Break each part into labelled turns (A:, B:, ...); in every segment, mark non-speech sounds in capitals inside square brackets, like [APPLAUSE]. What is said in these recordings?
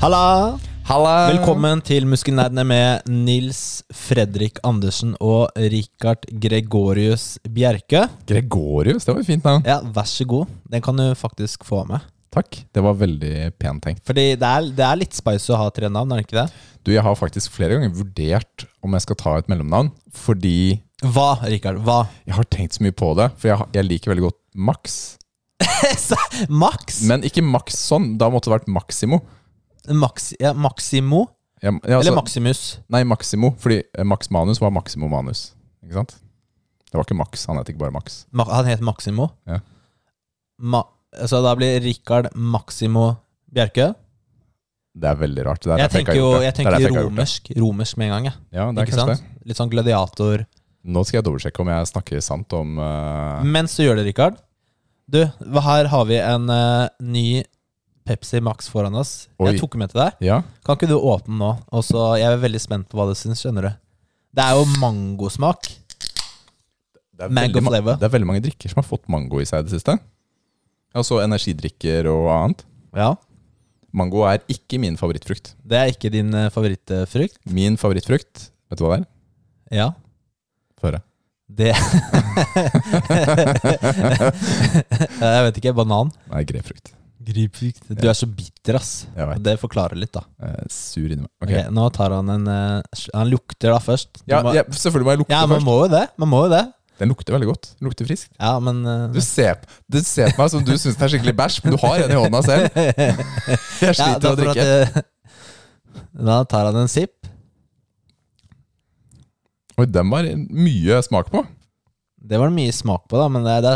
A: Halla!
B: Halla!
A: Velkommen til Muskelnerdene med Nils Fredrik Andersen og Richard Gregorius Bjerke.
B: Gregorius, det var et fint navn.
A: Ja, vær så god. Den kan du faktisk få med.
B: Takk. Det var veldig pent tenkt.
A: Fordi det er, det er litt spicy å ha tre navn, er det ikke det?
B: Du, jeg har faktisk flere ganger vurdert om jeg skal ta et mellomnavn, fordi
A: Hva, Richard? Hva?
B: jeg har tenkt så mye på det. For jeg, har- jeg liker veldig godt Max.
A: Max?
B: Men ikke Max sånn. Da måtte det vært Maximo.
A: Max ja, Maximo?
B: Jeg, jeg, altså,
A: Eller Maximus?
B: Nei, Maximo. Fordi eh, Max Manus var Maximo Manus. Ikke sant? Det var ikke Max. Han het ikke bare Max.
A: Ma han heter Maximo?
B: Ja.
A: Ma så da blir Richard Maximo Bjerke?
B: Det er veldig rart. Det er
A: Jeg
B: derfor
A: tenker
B: ikke
A: jo
B: har gjort det.
A: jeg
B: Det er derfor
A: tenker
B: ikke har gjort det.
A: romersk, romersk med en gang. jeg.
B: Ja, det er
A: Ikke
B: kanskje
A: sant? Litt sånn gladiator.
B: det. Nå skal jeg dobbeltsjekke om jeg snakker sant om eh,
A: Mens du gjør det, Rikard Du, hva- her har vi en eh, ny Pepsi Max foran oss.
B: Oi.
A: Jeg tok med til deg.
B: Ja.
A: Kan ikke du åpne den nå? Og så, Jeg er veldig spent på hva du syns. skjønner du Det er jo mangosmak.
B: Det er,
A: Mango
B: veldig ma-
A: flavor.
B: det er veldig mange drikker som har fått mango i seg i det siste. Altså energidrikker og annet.
A: Ja
B: Mango er ikke min favorittfrukt.
A: Det er ikke din eh, favorittfrukt.
B: Min favorittfrukt, vet du hva det er?
A: Ja
B: Få høre.
A: Det [LAUGHS] Jeg vet ikke. Banan.
B: Nei, grepfrukt.
A: Gripfrukt. Du er så bitter, ass.
B: Jeg vet.
A: Det forklarer litt, da.
B: Jeg er sur inni meg. Ok.
A: Ok, nå tar han en eh, sl- Han lukter da først. Du
B: Ja,
A: må,
B: ja, selvfølgelig må jeg lukte
A: ja, man
B: først.
A: må jo det. Man må jo det.
B: Den lukter veldig godt. Den lukter frisk.
A: Ja, men eh,
B: Du ser, p- du ser på meg som du syns det er skikkelig bæsj, men du har en i hånda
A: [LAUGHS]
B: selv. Jeg
A: Ja,
B: sliter med å
A: derfor at,
B: drikke.
A: eh, da tar han en sipp.
B: Oi, den var mye smak på.
A: Det var det mye smak på, da, men det, det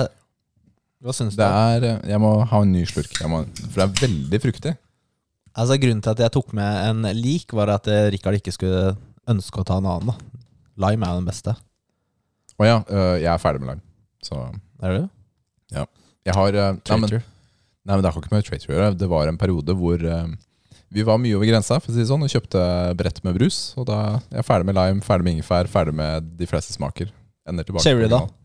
A: Hva syns du?
B: Det er, eh, jeg må ha en ny slurk, jeg må, for det er veldig fruktig.
A: Altså, grunnen til at jeg tok med en lik, var at eh, Rikard ikke skulle ønske å ta en annen. da. Lime er jo den beste.
B: Å ja, øh, jeg er ferdig med lime. Så
A: Er du?
B: jeg har eh, nei, men,
A: Traitor.
B: Nei, men det har ikke med traitor å gjøre. Det var en periode hvor eh, vi var mye over grensa for å si det sånn, og kjøpte brett med brus. Og da jeg er ferdig med lime, ferdig med ingefær, ferdig med de fleste smaker. Ender tilbake
A: Sherry, da?
B: original.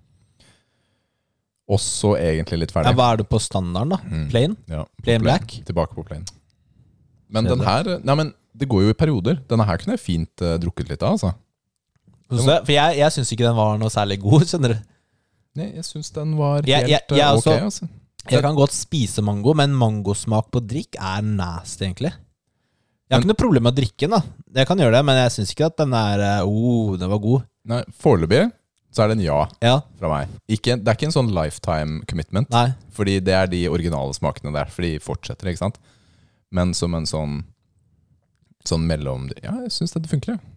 B: Også egentlig litt
A: Ja,
B: ferdig.
A: hva er du på standarden, da?
B: Mm.
A: Plain?
B: Ja, på
A: Plain black?
B: Tilbake på plain. Men
A: Kjedelig.
B: den her Nei, men det går jo i perioder. Denne her kunne jeg fint eh, drukket litt av, altså.
A: Synes du? For jeg, jeg syns ikke den var noe særlig god, [LAUGHS] skjønner du.
B: Nei, jeg syns den var helt
A: Jeg- jeg-
B: eh,
A: jeg
B: ok,
A: også-
B: altså.
A: Jeg kan godt spise mango, men mangosmak på drikk er nasty, egentlig. Jeg har
B: Men-
A: ikke noe problem med å drikke den, da. Jeg kan gjøre det, men jeg syns ikke at den er eh, Oh, den var god.
B: Nei, foreløpig så er det en ja
A: Ja.
B: fra meg. Ikke, det er ikke en sånn lifetime commitment.
A: Nei.
B: Fordi det er de originale smakene der, for de fortsetter, ikke sant? Men som en sånn Sånn mellom Ja, jeg syns dette funker, jeg.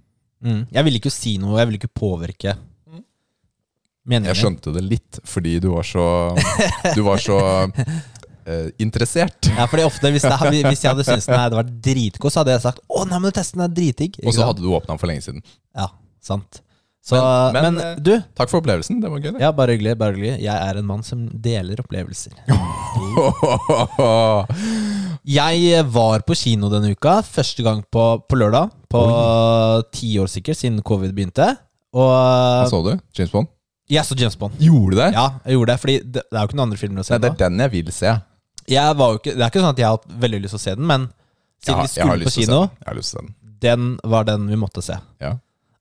A: Mm. Jeg ville ikke si noe, jeg ville ikke påvirke
B: Mm.
A: meningen.
B: Jeg skjønte det litt, fordi du var så Du var
A: [LAUGHS]
B: så eh, interessert.
A: Ja, fordi ofte Hvis, det, hvis jeg hadde syntes den her hadde vært dritgod, så hadde jeg sagt 'Å, nei, men test den, den er dritdigg'. Ikke
B: Og så
A: sant?
B: hadde du åpna den for lenge siden.
A: Ja, sant. Så,
B: Men-
A: men,
B: men, eh,
A: du,
B: Takk for opplevelsen, det var gøy. det.
A: ja, bare hyggelig, bare hyggelig. Jeg er en mann som deler opplevelser. Jeg eh, var på kino denne uka, første gang på, på lørdag. På ti år sikkert, siden covid begynte.
B: [LAUGHS] Hva
A: Og
B: så du? James Bond?
A: jeg så James Bond.
B: Gjorde du det?
A: Ja, jeg gjorde det, fordi det, det er jo ikke noen andre filmer å se
B: Nei, det
A: nå.
B: er den jeg vil se.
A: Jeg var jo ikke, det er ikke sånn at jeg har hatt veldig lyst til å se den, men
B: Jeg
A: siden
B: har-
A: vi
B: jeg har
A: skulle på
B: lyst til å se
A: kino,
B: den. Jeg har lyst til å se den.
A: den var den vi måtte se.
B: Ja.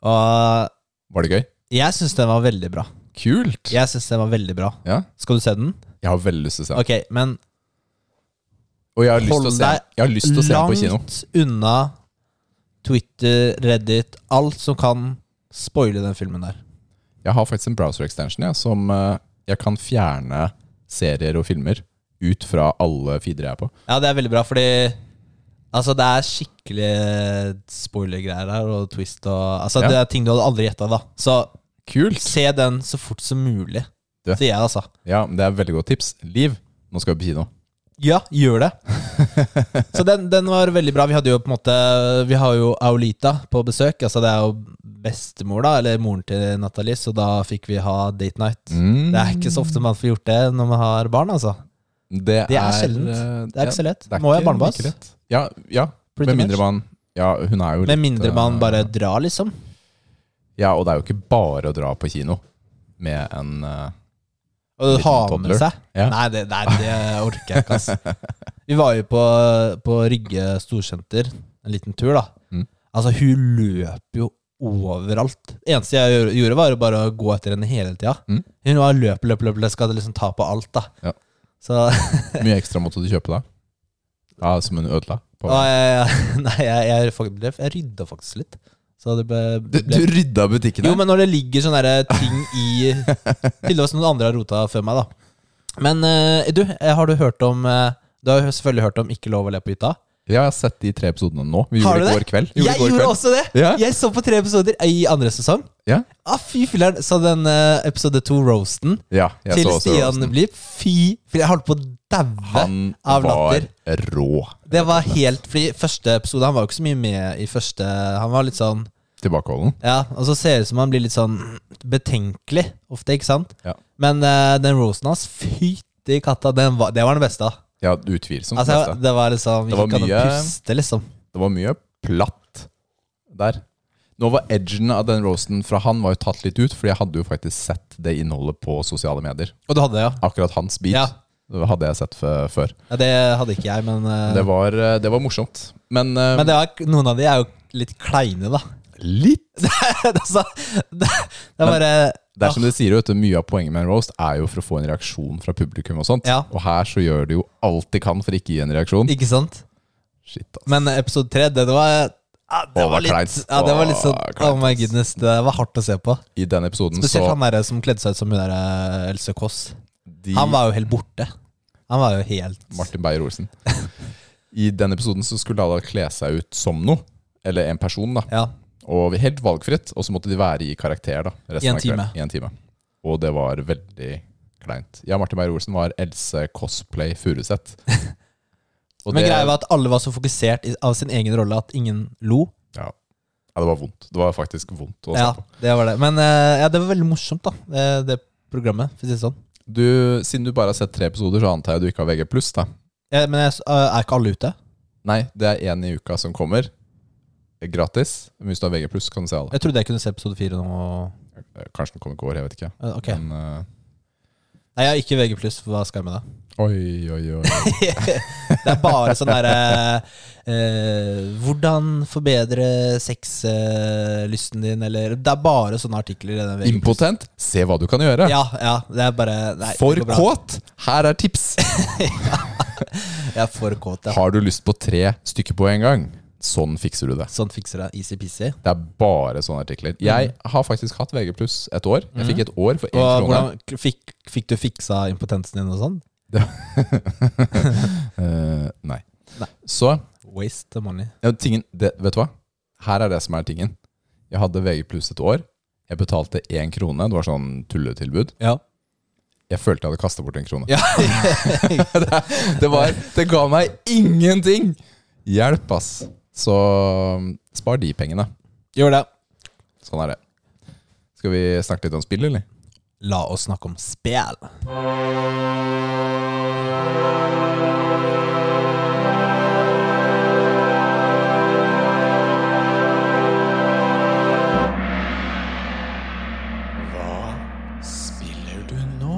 A: Og
B: Var det gøy?
A: jeg syns den var veldig bra.
B: Kult!
A: Jeg synes den var veldig bra
B: Ja,
A: Skal du se den?
B: jeg har veldig lyst til å se den.
A: Ok, men
B: Og jeg har lyst
A: Hold
B: til å se
A: deg
B: den. Jeg har lyst til å se den på kino.
A: langt unna Twitter, Reddit, alt som kan spoile den filmen der.
B: Jeg har faktisk en browser extension jeg, som eh, jeg kan fjerne serier og filmer ut fra alle feeder jeg er på.
A: Ja, det er veldig bra, fordi Altså, det er skikkelig spoiler-greier her, og twist og Altså,
B: Ja.
A: det er ting du hadde aldri gjetta, da. Så
B: Kult!
A: se den så fort som mulig,
B: Du.
A: sier jeg, altså.
B: Ja, men det er veldig godt tips. Liv, nå skal vi på kino.
A: Ja, gjør
B: [LAUGHS]
A: det. så den, den var veldig bra. Vi hadde jo på en måte Vi har jo Aolita på besøk. Altså Det er jo bestemor, da, eller moren til Nathalie, så da fikk vi ha date night.
B: Mm,
A: Det er ikke så ofte man får gjort det når man har barn, altså.
B: det
A: Det er
B: eh,
A: sjeldent. Det er ikke så lett.
B: det er
A: Må
B: ikke
A: jeg barnepass?
B: like lett. Ja, ja.
A: Pretty
B: med mindre
A: much.
B: man Ja, hun er jo
A: Med
B: litt,
A: mindre man
B: eh,
A: bare drar, liksom.
B: Ja, og det er jo ikke bare å dra på kino med en eh,
A: Og
B: Liten
A: har med
B: toddler.
A: seg.
B: Ja. [LAUGHS]
A: Nei, det, nei, det orker jeg ikke, ass. Vi var jo på, på Rygge storsenter en liten tur, da.
B: Mm.
A: Altså, hun løp jo overalt. Det eneste jeg gjør- gjorde, var jo bare å gå etter henne hele tida.
B: Mm.
A: Hun var løp, løp, løp, løp, skal liksom ta på alt, da.
B: Ja.
A: Så [LAUGHS]
B: mye ekstra måtte du kjøpe da? Ja, som hun ødela? På.
A: ja, ja, ja. Nei, jeg, jeg, fak- ble- jeg rydda faktisk litt. Så det ble,
B: Du, du
A: ble
B: rydda butikken
A: Jo,
B: der?
A: men når det ligger sånne der ting
B: [LAUGHS]
A: i Tydeligvis noen andre har rota før meg, da. Men eh, du, eh, har du hørt om eh, Du har jo selvfølgelig hørt om Ikke lov å le på hytta?
B: Ja, jeg har sett de tre episodene nå. Vi
A: Har
B: gjorde det
A: du
B: i går kveld. Vi
A: Jeg
B: det i går
A: gjorde
B: kveld.
A: også det!
B: Ja.
A: Jeg så på tre episoder i andre sesong.
B: Ja.
A: Ah, fy filler'n! Så den eh, episode to, roasten,
B: Ja, jeg
A: til
B: så også
A: Stian
B: Rosen.
A: Blipp Fy filler'n, jeg holdt på å daue
B: Han
A: av
B: var
A: latter.
B: rå
A: Det var helt fordi første episode Han var jo ikke så mye med i første Han var litt sånn
B: tilbakeholden.
A: Ja, og så ser det ut som han blir litt sånn betenkelig ofte, ikke sant?
B: Ja.
A: Men eh, den rosen hans, fytti katta, den var, det var den beste. da.
B: Ja, utvilsomt.
A: Altså,
B: beste.
A: det var liksom
B: Det
A: Ikke
B: var
A: kan
B: mye-
A: du puste, liksom.
B: Det var mye platt der. Nå var edgen av den roasten fra han var jo tatt litt ut, fordi jeg hadde jo faktisk sett det innholdet på sosiale medier.
A: Og du hadde det, ja?
B: Akkurat hans bit
A: Ja.
B: det hadde jeg sett f- før.
A: ja? Det hadde ikke jeg, men eh,
B: Det var, eh, det var morsomt. Men, eh,
A: Men det var, noen av de er jo litt kleine, da. [LAUGHS]
B: litt
A: altså, det, det er
B: Men-
A: bare
B: Det er som
A: Ah.
B: de sier, vet du, mye av poenget med en roast er jo for å få en reaksjon fra publikum. Og sånt
A: Ja.
B: Og her så gjør de jo alt de kan for ikke å gi en reaksjon.
A: Ikke sant?
B: Shit, altså. ass.
A: Men episode tre, det, det var ja, det,
B: Å,
A: var
B: det var
A: litt,
B: kleint.
A: ja, det var litt sånn
B: Å, kleint,
A: Oh my goodness, det var hardt å se på.
B: I denne episoden
A: Spesielt
B: så
A: han derre som kledde seg ut som hun der eh, Else Kåss.
B: de,
A: Han var jo helt borte. Han var jo helt
B: Martin Beyer-Olsen. [LAUGHS] I denne episoden så skulle alle kle seg ut som noe. Eller en person, da.
A: Ja.
B: Og helt valgfritt. Og så måtte de være i karakter da
A: I en
B: av
A: time.
B: kvelden. I en time. Og det var veldig kleint. Ja, Martin Beyer-Olsen var Else Cosplay
A: [LAUGHS]
B: Furuseth. Og
A: Men
B: det-
A: greia var at alle var så fokusert i, av sin egen rolle at ingen lo.
B: ja. ja, det var vondt. Det var faktisk vondt å se
A: Ja,
B: på.
A: det var det. Men eh, ja, det var veldig morsomt, da. Det, det programmet, for å si det sånn.
B: Du, siden du bare har sett tre episoder, så antar jeg du ikke har VG+. da
A: Ja, men jeg, s- eh, er ikke alle ute?
B: Nei, det er én i uka som kommer. Gratis. Men hvis du har VG+, kan du se alle. Eh,
A: Jeg trodde jeg kunne se episode fire nå. og-
B: Kanskje den kom i går, jeg vet ikke.
A: eh, Ok.
B: Men eh,
A: Nei, jeg har ikke VG+, for hva skal jeg med det?
B: Oi, oi, oi.
A: Det er bare sånn derre eh, Hvordan forbedre sexlysten din, eller Det er bare sånne artikler i den VG+.
B: [LAUGHS] Impotent? Se hva du kan gjøre.
A: Ja, ja. Det er bare nei, det
B: For
A: går bra.
B: kåt! Her er tips!
A: Jeg er for kåt, ja.
B: Har du lyst på tre stykker på en gang? Sånn fikser du det.
A: Sånt fikser jeg. Easy-peasy.
B: Det er bare sånne artikler.
A: Mhm.
B: Jeg har faktisk hatt VG pluss et år. Jeg fikk et år for én
A: Og
B: krone.
A: Mhm. hvordan fikk, fikk du fiksa impotensen din og sånn?
B: Eh, nei.
A: Nei.
B: Så
A: Waste the money.
B: ja, tingen, det, Vet du hva? Her er det som er tingen. Jeg hadde VG pluss et år. Jeg betalte én krone. Det var sånn tulletilbud.
A: Ja.
B: Jeg følte jeg hadde kasta bort en krone.
A: ja.
B: [LAUGHS] Det, var, det ga meg ingenting! Hjelp, ass. Så um, spar de pengene.
A: Gjør det.
B: Sånn er det. Skal vi snakke litt om spill, eller?
A: La oss snakke om spill.
C: Hva spiller du nå?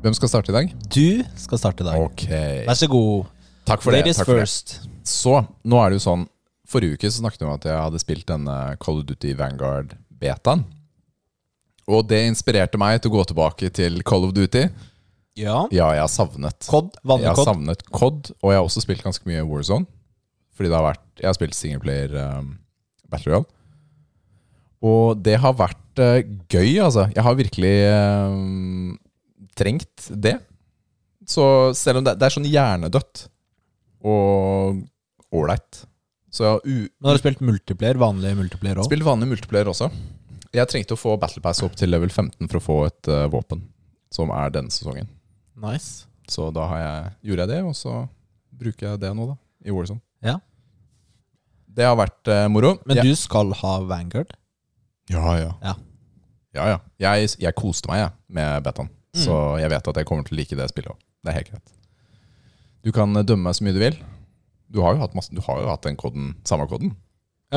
B: Hvem skal starte i dag?
A: Du skal starte i dag.
B: Ok.
A: Vær så god.
B: Takk for det.
A: Ladies
B: Takk for det.
A: first.
B: Så, nå er det jo sånn Forrige uke så snakket vi om at jeg hadde spilt denne Call of Duty Vanguard-betaen. Og det inspirerte meg til å gå tilbake til Call of Duty.
A: Ja.
B: Ja, jeg har savnet
A: Cod.
B: Jeg
A: Vanlig
B: har
A: cod.
B: savnet COD, og jeg har også spilt ganske mye Warzone. Fordi det har vært Jeg har spilt singleplayer um, Battle Royale. Og det har vært eh, gøy, altså. Jeg har virkelig eh, trengt det. Så selv om det, det er sånn hjernedødt og ålreit Så jeg har u
A: Men har du spilt multiplayer? Vanlig multiplayer òg?
B: spilt vanlig multiplayer også. Jeg trengte å få Battle Pass opp til level 15 for å få et eh, våpen, som er denne sesongen.
A: Nice.
B: Så da har jeg, gjorde jeg det, og så bruker jeg det nå, da. I Warzone.
A: Ja.
B: Det har vært eh, moro.
A: Men
B: ja.
A: du skal ha Vanguard?
B: Ja, ja.
A: Ja.
B: Ja, ja. Jeg, jeg koste meg jeg, med betaen,
A: Mm.
B: så jeg vet at jeg kommer til å like det spillet òg. Det er helt greit. Du kan eh, dømme meg så mye du vil. Du har jo hatt, masse, du har jo hatt den koden, samme koden.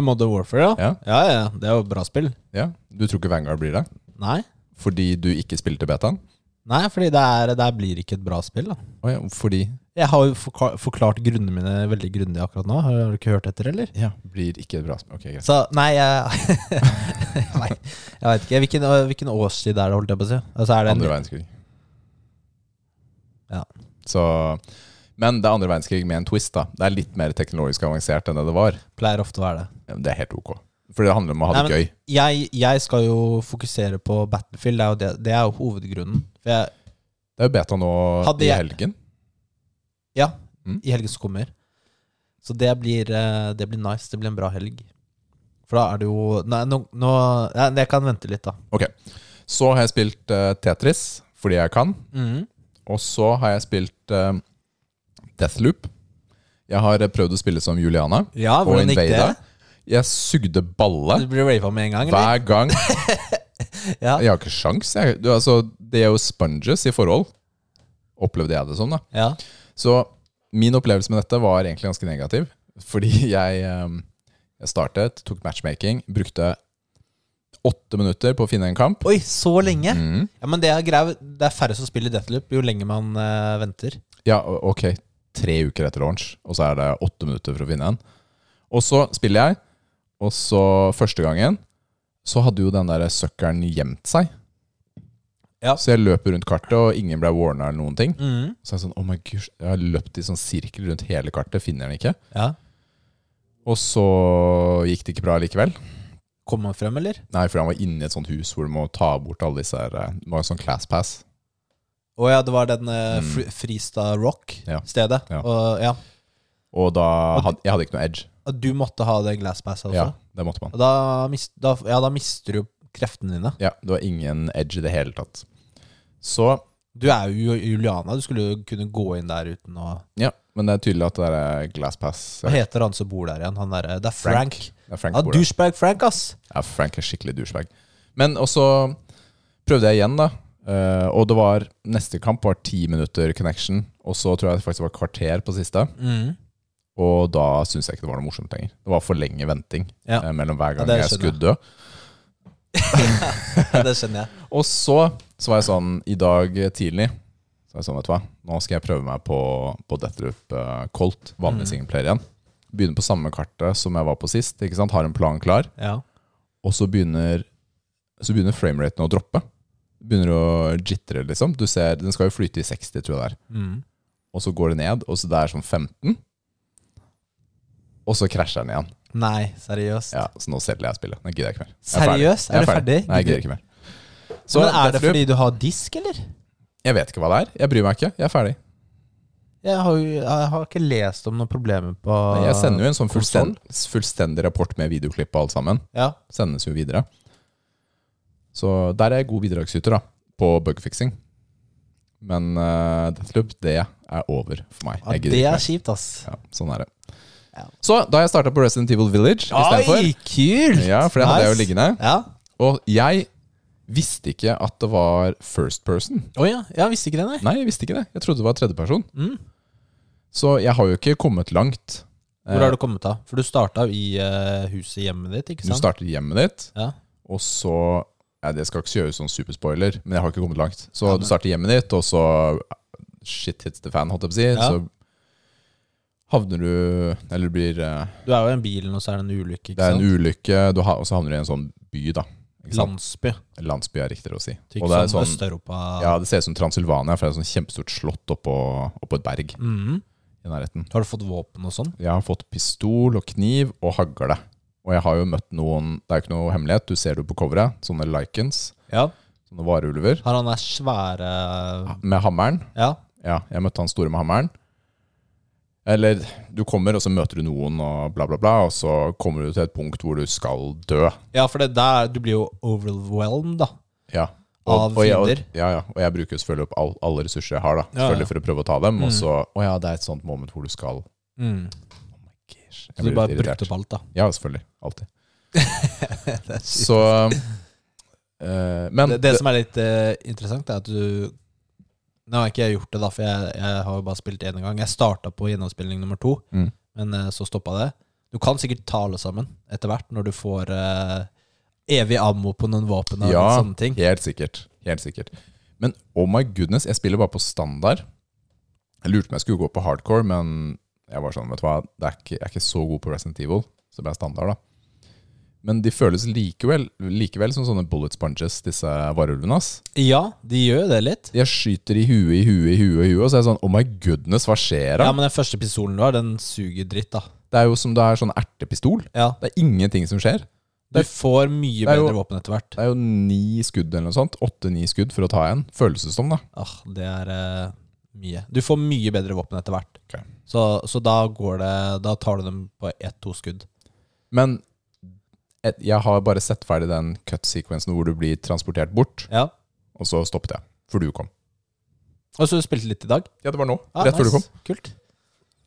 A: Modern Warfare, ja.
B: Ja.
A: ja. Ja, Det er jo bra spill.
B: Ja. Du tror ikke Vanguard blir det?
A: Nei.
B: Fordi du ikke spilte betaen?
A: Nei, fordi det, er, det her blir ikke et bra spill. da
B: Å ja, fordi
A: Jeg har jo forkla- forklart grunnene mine veldig grundig akkurat nå. Har du ikke hørt etter, eller?
B: ja, blir ikke et bra spill. Ok, greit.
A: Så nei, jeg, [LAUGHS] jeg vet- jeg vet ikke. Hvilken, hvilken årstid er det, holdt jeg på å si? Altså, er det
B: Andre
A: en,
B: verdenskrig.
A: Ja.
B: Så Men det er andre verdenskrig med en twist, da. Det er litt mer teknologisk avansert enn det det var.
A: pleier ofte å være det.
B: Ja, men Det er helt ok. For det handler om å ha det
A: Nei, men-
B: gøy.
A: Jeg, jeg skal jo fokusere på Battlefield. Det er jo, det, det er jo hovedgrunnen. For jeg,
B: Det er jo beta nå
A: Hadde
B: i
A: jeg-
B: helgen.
A: ja,
B: Mm.
A: i helgen som kommer. Så det blir, eh, det blir nice. Det blir en bra helg. For da er det jo Nei, nå, nå ja, Jeg kan vente litt, da.
B: Så har jeg spilt eh, Tetris fordi jeg kan.
A: Mhm.
B: Og så har jeg spilt eh, Deathloop. Jeg har eh, prøvd å spille som Juliana.
A: Ja,
B: Og
A: hvordan gikk det?
B: Invader. Jeg sugde balle
A: Du blir rava med en gang, eller?
B: hver gang.
A: Ja.
B: Jeg har ikke sjans. Jeg, du, altså, det er jo sponges i forhold. Opplevde jeg det som, da.
A: Ja.
B: Så min opplevelse med dette var egentlig ganske negativ. Fordi jeg, eh, jeg startet, tok matchmaking, brukte åtte minutter på å finne en kamp.
A: Oi, så lenge?
B: Mhm.
A: Ja, men det er, grei, det er færre som spiller Deathloop jo lenger man eh, venter.
B: Ja, o- ok. Tre uker etter launch, og så er det åtte minutter for å finne en. Og så spiller jeg, og så første gangen så hadde jo den der søkkeren gjemt seg.
A: Ja.
B: Så jeg løper rundt kartet, og ingen ble warna eller noen ting. Så jeg er sånn, oh my gosh, jeg har løpt i sånn sirkel rundt hele kartet, finner den ikke.
A: Ja.
B: Og så gikk det ikke bra likevel.
A: Kom man frem, eller?
B: Nei, for han var inne i et sånt hus hvor du må ta bort alle disse her, eh, Det var en sånn class pass.
A: Å ja, det var den eh,
B: Mm.
A: fri, Fristad
B: Ja.
A: Rock-stedet.
B: Ja.
A: Og, ja.
B: Og da
A: Og
B: hadde jeg hadde ikke noe edge.
A: og du måtte ha det glasspasset også.
B: Ja, det måtte man.
A: Og da, mis, da, ja, da mister du jo kreftene dine.
B: Ja, det var ingen edge i det hele tatt. Så
A: Du er jo Juliana. Du skulle jo kunne gå inn der uten å
B: Ja, men det er tydelig at det der er Glasspass.
A: Hva heter han som bor der igjen? Han derre Det er Frank.
B: Frank. Ja, Frank,
A: Ja,
B: bor der.
A: douchebag Frank, ass.
B: ja, Frank er skikkelig douchebag. Men også prøvde jeg igjen, da. Eh, og det var neste kamp var ti minutter connection, og så tror jeg det faktisk var kvarter på siste.
A: Mm.
B: Og da syns jeg ikke det var noe morsomt lenger. Det var for lenge venting
A: Ja.
B: eh, mellom hver
A: Ja,
B: gang
A: det
B: jeg
A: skjønner
B: skulle dø.
A: Det
B: [LAUGHS]
A: skjønner jeg.
B: Og så, så var jeg sånn i dag tidlig Så var jeg sånn, vet du hva Nå skal jeg prøve meg på, på Deathloop eh, Colt,
A: Mm.
B: vanlig singleplayer igjen Begynner på samme kartet som jeg var på sist Ikke sant, har en plan klar
A: Ja.
B: Og så begynner, så begynner frameraten å droppe Begynner å jittre liksom Du ser, den skal jo flyte i 60 tror jeg det er
A: Mm.
B: Og så går det ned, og så det er sånn 15 Og så krasjer den igjen
A: Nei, seriøst.
B: Ja, så nå selger jeg spillet Nå gidder jeg ikke mer Jeg ferdig.
A: Seriøst?
B: Jeg
A: Er du ferdig?
B: Nei, jeg gidder ikke mer Så
A: Men er det
B: Deathloop-
A: fordi du har disk, eller?
B: Jeg vet ikke hva det er. Jeg bryr meg ikke. Jeg er ferdig.
A: Jeg har, jo- jeg har ikke lest om noen problemer på
B: Nei, Jeg sender jo en sånn
A: konsoll?
B: fullstend, fullstendig rapport med videoklipp og alt sammen.
A: Ja.
B: Sendes jo videre. Så der er jeg god bidragsyter, da. På bugfixing. Men uh, Deathloop, det er over for meg.
A: ja
B: Jeg
A: det
B: gidder ikke
A: er
B: mer.
A: kjipt, ass.
B: Ja, sånn er det.
A: Ja.
B: Så da har jeg starta på Resident Evil Village istedenfor.
A: Oi, kult!
B: Ja, for det hadde jeg jo
A: Nice.
B: liggende.
A: Ja.
B: Og jeg visste ikke at det var first person.
A: Å ja. ja, visste ikke det, nei.
B: Nei, jeg visste ikke det. Jeg trodde det var tredjeperson.
A: Mm.
B: Så jeg har jo ikke kommet langt.
A: Hvor har du kommet av? For du starta jo i eh, huset i hjemmet ditt, ikke
B: Du
A: sant?
B: starter i hjemmet ditt,
A: Ja.
B: og så ja, Det skal ikke gjøres sånn superspoiler, men jeg har ikke kommet langt. Så
A: Ja, men-
B: du starter i hjemmet ditt, og så shit hits the fan, holdt jeg på å si.
A: Ja.
B: Så havner du Eller du blir eh,
A: Du er jo i en bil, og så er det en ulykke, ikke
B: Det er en
A: sant?
B: ulykke, du ha, og så havner du i en sånn by, da. Ikke sant?
A: Landsby.
B: Landsby er riktigere å si.
A: Tyk
B: Og det er
A: sånn
B: sånn
A: Øst-Europa.
B: Ja, det ser ut som Transilvania, for det er et sånn kjempestort slott oppå, oppå et berg
A: Mhm.
B: i nærheten.
A: Har du fått våpen og sånn?
B: Jeg har fått pistol og kniv og hagle. Og jeg har jo møtt noen Det er jo ikke noe hemmelighet, du ser det jo på coveret. Sånne likens.
A: Ja.
B: Sånne varulver.
A: Har han der svære
B: Med hammeren.
A: Ja.
B: Ja, jeg møtte han store med hammeren. Eller du kommer, og så møter du noen, og bla, bla, bla. Og så kommer du til et punkt hvor du skal dø.
A: ja, for det der Du blir jo overwhelmed, da.
B: Ja.
A: Av
B: jeg, og,
A: fiender.
B: ja, ja. og jeg bruker jo selvfølgelig opp all, alle ressurser jeg har, da.
A: Ja, ja.
B: Selvfølgelig for å prøve å ta dem.
A: Mm.
B: Og så Å ja, det er et sånt moment hvor du skal
A: Mm.
B: Gish,
A: Så
B: Jeg
A: du
B: blir
A: bare
B: litt
A: brukte
B: irritert.
A: opp alt, [LAUGHS] da.
B: Ja, selvfølgelig. Alltid. Så eh, Men
A: det, det som er litt eh, interessant, er at du Nå har ikke jeg gjort det, da, for jeg, jeg har jo bare spilt én gang. Jeg starta på gjennomspilling nummer to,
B: Mm.
A: men eh, så stoppa det. Du kan sikkert ta alle sammen etter hvert, når du får eh, evig ammo på noen våpen og
B: Ja,
A: sånne ting.
B: helt sikkert. Helt sikkert. Men oh my goodness, jeg spiller bare på standard. Jeg lurte på om jeg skulle gå på hardcore, men jeg var sånn, vet du hva, det er ikke, jeg er ikke så god på Resident Evil, så det ble standard, da. Men de føles likevel, likevel som sånne bullet sponges, disse varulvene, ass.
A: Ja, de gjør jo det litt.
B: Jeg skyter i huet, i huet, i huet, i huet, og så er jeg sånn, oh my goodness, hva skjer da?
A: Ja, men den første pistolen du har, den suger dritt, da.
B: Det er jo som det er sånn ertepistol.
A: Ja.
B: Det er ingenting som skjer.
A: Du får mye
B: Det er jo-
A: bedre våpen etter hvert.
B: Det er jo ni skudd eller noe sånt. Åtte-ni skudd for å ta en. Føles det som, da.
A: Ah, det er eh, mye. Du får mye bedre våpen etter hvert.
B: Ok.
A: Så, så da går det Da tar du dem på ett-to skudd.
B: Men et, jeg har bare sett ferdig den cut-sekvensen hvor du blir transportert bort,
A: Ja.
B: og så stoppet jeg. For du kom.
A: Og så spilte du litt i dag.
B: Ja, det var nå.
A: Ah,
B: rett før du
A: nice.
B: kom.
A: Kult.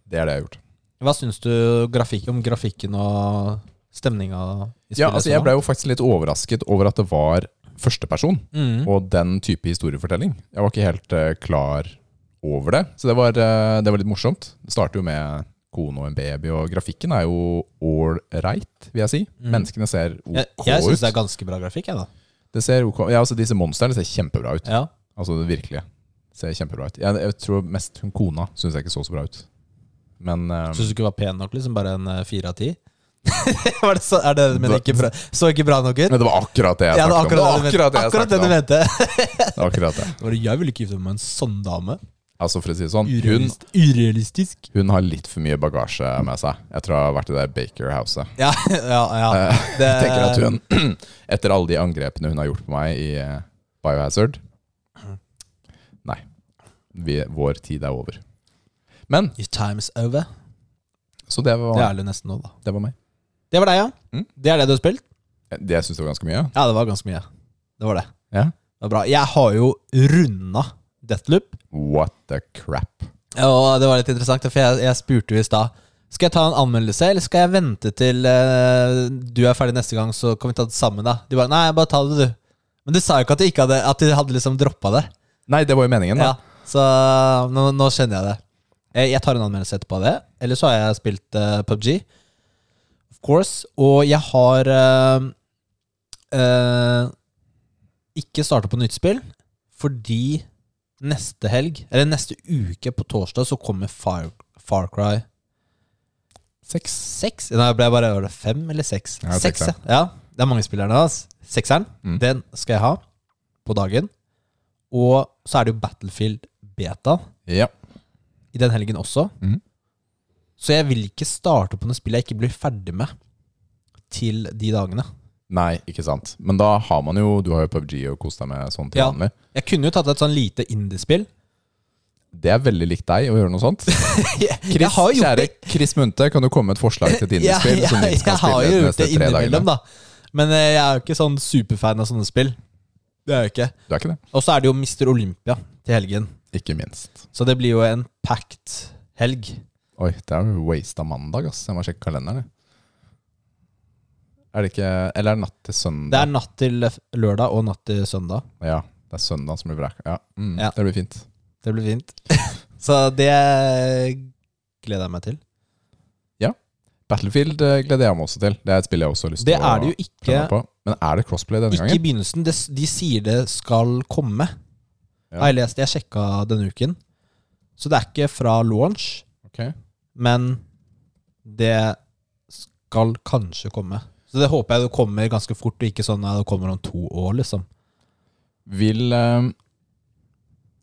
B: Det er det jeg har gjort.
A: Hva syns du grafik, om grafikken og stemninga i spillet?
B: Ja, altså
A: sånn
B: Jeg
A: da?
B: ble jo faktisk litt overrasket over at det var førsteperson
A: mm.
B: og den type historiefortelling. Jeg var ikke helt eh, klar over det, så det var, eh, det var litt morsomt. Det starter jo med kone og en baby, og grafikken er jo all right, vil jeg si.
A: Mm.
B: Menneskene ser ok
A: Jeg, jeg syns
B: ut.
A: det er ganske bra grafikk, jeg, da.
B: Det ser ok Ja, altså disse monstrene ser kjempebra ut.
A: Ja.
B: Altså det virkelige ser kjempebra ut. Jeg, jeg tror mest hun kona syns jeg ikke så så bra ut. Men eh,
A: Syns du ikke det var pen nok? liksom Bare en eh, fire av ti? [LAUGHS] Var det så- Er det det du mener? Ikke bra- Så ikke bra nok ut?
B: men det var akkurat det jeg
A: Ja, det
B: snakket
A: var
B: om. Det
A: akkurat det
B: var
A: du mente.
B: akkurat
A: Akkurat
B: det jeg
A: det
B: snakket
A: du
B: om.
A: mente. [LAUGHS]
B: Det var akkurat det.
A: Var det, Jeg ville ikke gifte meg med en sånn dame.
B: Altså for å si det sånn, hun,
A: Urealist, urealistisk.
B: hun har litt for mye bagasje med seg etter å ha vært i det Baker-houset.
A: Ja, [LAUGHS] ja. ja. Eh. Det,
B: [LAUGHS] Jeg tenker at hun, [CLEARS THROAT] etter alle de angrepene hun har gjort på meg i eh, Biohazard Nei. Vi, vår tid er over. Men
A: Your time is over.
B: Så det
A: Det
B: var,
A: er det jo nesten nå, da.
B: det var meg.
A: Det var deg, ja.
B: Mm.
A: Det er det du har spilt?
B: Det syns jeg var ganske mye.
A: Ja, det var ganske mye. Det var det.
B: Ja.
A: Det var bra. Jeg har jo runda Deathloop,
B: What the crap.
A: og det var litt interessant, for jeg, jeg spurte jo i stad skal jeg ta en anmeldelse, eller skal jeg vente til eh, du er ferdig neste gang, så kan vi ta det sammen, da? De bare nei, bare ta det, du. Men du sa jo ikke at de, ikke hadde, at de hadde liksom droppa det.
B: Nei, det var jo meningen, da.
A: Ja, så eh, nå, nå skjønner jeg det. Eh, Jeg, jeg tar en anmeldelse etterpå av det. Eller så har jeg spilt eh, PubG, of course. Og jeg har eh, eh, ikke starta på nytt spill, fordi neste helg, eller neste uke på torsdag, så kommer Far, Far Cry
B: Seks.
A: 6. Nei, jeg ble bare var det fem eller seks.
B: Ja,
A: Seks,
B: sekseren.
A: ja. ja. Det er mange spillere nå. ass. Sekseren,
B: Mm.
A: den skal jeg ha på dagen. Og så er det jo Battlefield Beta.
B: Ja.
A: i den helgen også.
B: Mhm.
A: Så jeg vil ikke starte på noe spill jeg ikke blir ferdig med til de dagene.
B: Nei, ikke sant. Men da har man jo Du har jo PubG og kost deg med sånt til
A: Ja.
B: vanlig.
A: Jeg kunne jo tatt et sånn lite indiespill.
B: Det er veldig likt deg å gjøre noe sånt. [LAUGHS]
A: [LAUGHS]
B: Chris,
A: jeg har gjort
B: kjære
A: det-
B: Chris Munthe, kan du komme med et
A: [LAUGHS]
B: forslag til et
A: Ja,
B: indiespill
A: ja,
B: som vi skal
A: jeg har
B: spille
A: jo
B: de
A: gjort
B: neste
A: det
B: tre
A: innimellom,
B: dagene?
A: da. Men eh, jeg er jo ikke sånn superfan av sånne spill. Det er jeg ikke.
B: Du er ikke det?
A: Og så er det jo Mister Olympia til helgen.
B: Ikke minst.
A: Så det blir jo en packed helg.
B: Oi, det er jo waste av mandag, ass. Jeg må sjekke kalenderen, jeg. Er det ikke Eller er det natt til
A: Det er
B: søndag?
A: natt til lørdag og natt til søndag.
B: Ja, det er søndag som blir bra. Ja. Mm,
A: Ja.
B: Det blir fint.
A: Det blir
B: [LAUGHS]
A: fint. så det gleder jeg meg til.
B: Battlefield eh, gleder jeg meg også til. Det er et spill jeg også har lyst
A: Det
B: til
A: er det jo
B: prøve
A: ikke
B: meg på. Men er det crossplay denne
A: Ikke i
B: gangen?
A: begynnelsen. Det, s- de sier det skal komme.
B: Ja.
A: Har jeg lest Jeg sjekka denne uken. Så det er ikke fra launch,
B: Ok.
A: men det skal kanskje komme. Så det håper jeg det kommer ganske fort, og ikke sånn at det kommer om to år, liksom.
B: Vil eh,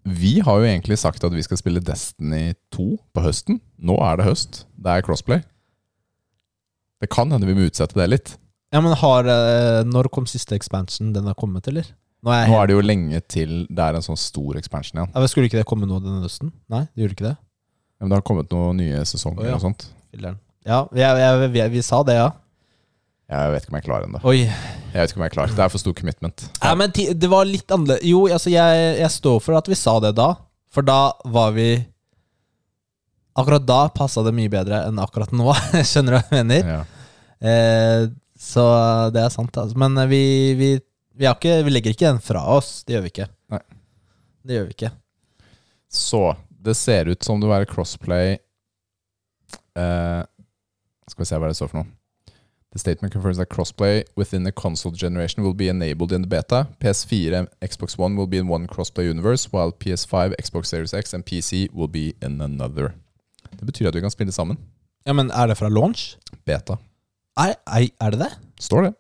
B: Vi har jo egentlig sagt at vi skal spille Destiny 2 på høsten. Nå er det høst. Det er crossplay. Det kan hende vi må utsette det litt.
A: Ja, men har eh, Når kom siste expansion? Den har kommet, eller? Nå er jeg
B: Nå
A: helt,
B: er det jo lenge til det er en sånn stor expansion igjen.
A: ja, men Skulle ikke det komme nå denne høsten? Nei, det gjorde ikke det?
B: Men det har kommet noen nye
A: Å,
B: sesonger
A: ja.
B: og sånt.
A: Filler'n. Ja, jeg, jeg, vi, vi sa det, ja.
B: Jeg vet ikke om jeg er klar ennå.
A: Oi.
B: Jeg vet ikke om jeg er klar. Det er for stor commitment.
A: Ja, men ti- det var litt annerledes Jo, altså jeg, jeg står for at vi sa det da For da var vi Akkurat da passet det mye bedre enn akkurat nå [LAUGHS] Skjønner du hva jeg mener?
B: Ja.
A: Eh, så det er sant altså. Men eh, vi, vi, vi, har ikke, vi legger ikke den fra oss Det gjør vi ikke
B: Nei.
A: Det gjør vi ikke
B: Så det ser ut som det vil være crossplay eh, Skal vi se hva det står for noe. The statement confirms that crossplay within the console generation will be enabled in the beta. PS4 and Xbox One will be in one crossplay universe, while PS5, Xbox Series X and PC will be in another. Det betyr at vi kan spille sammen.
A: Ja, men er det fra launch?
B: Beta.
A: Nei, nei, er det det?
B: Står det.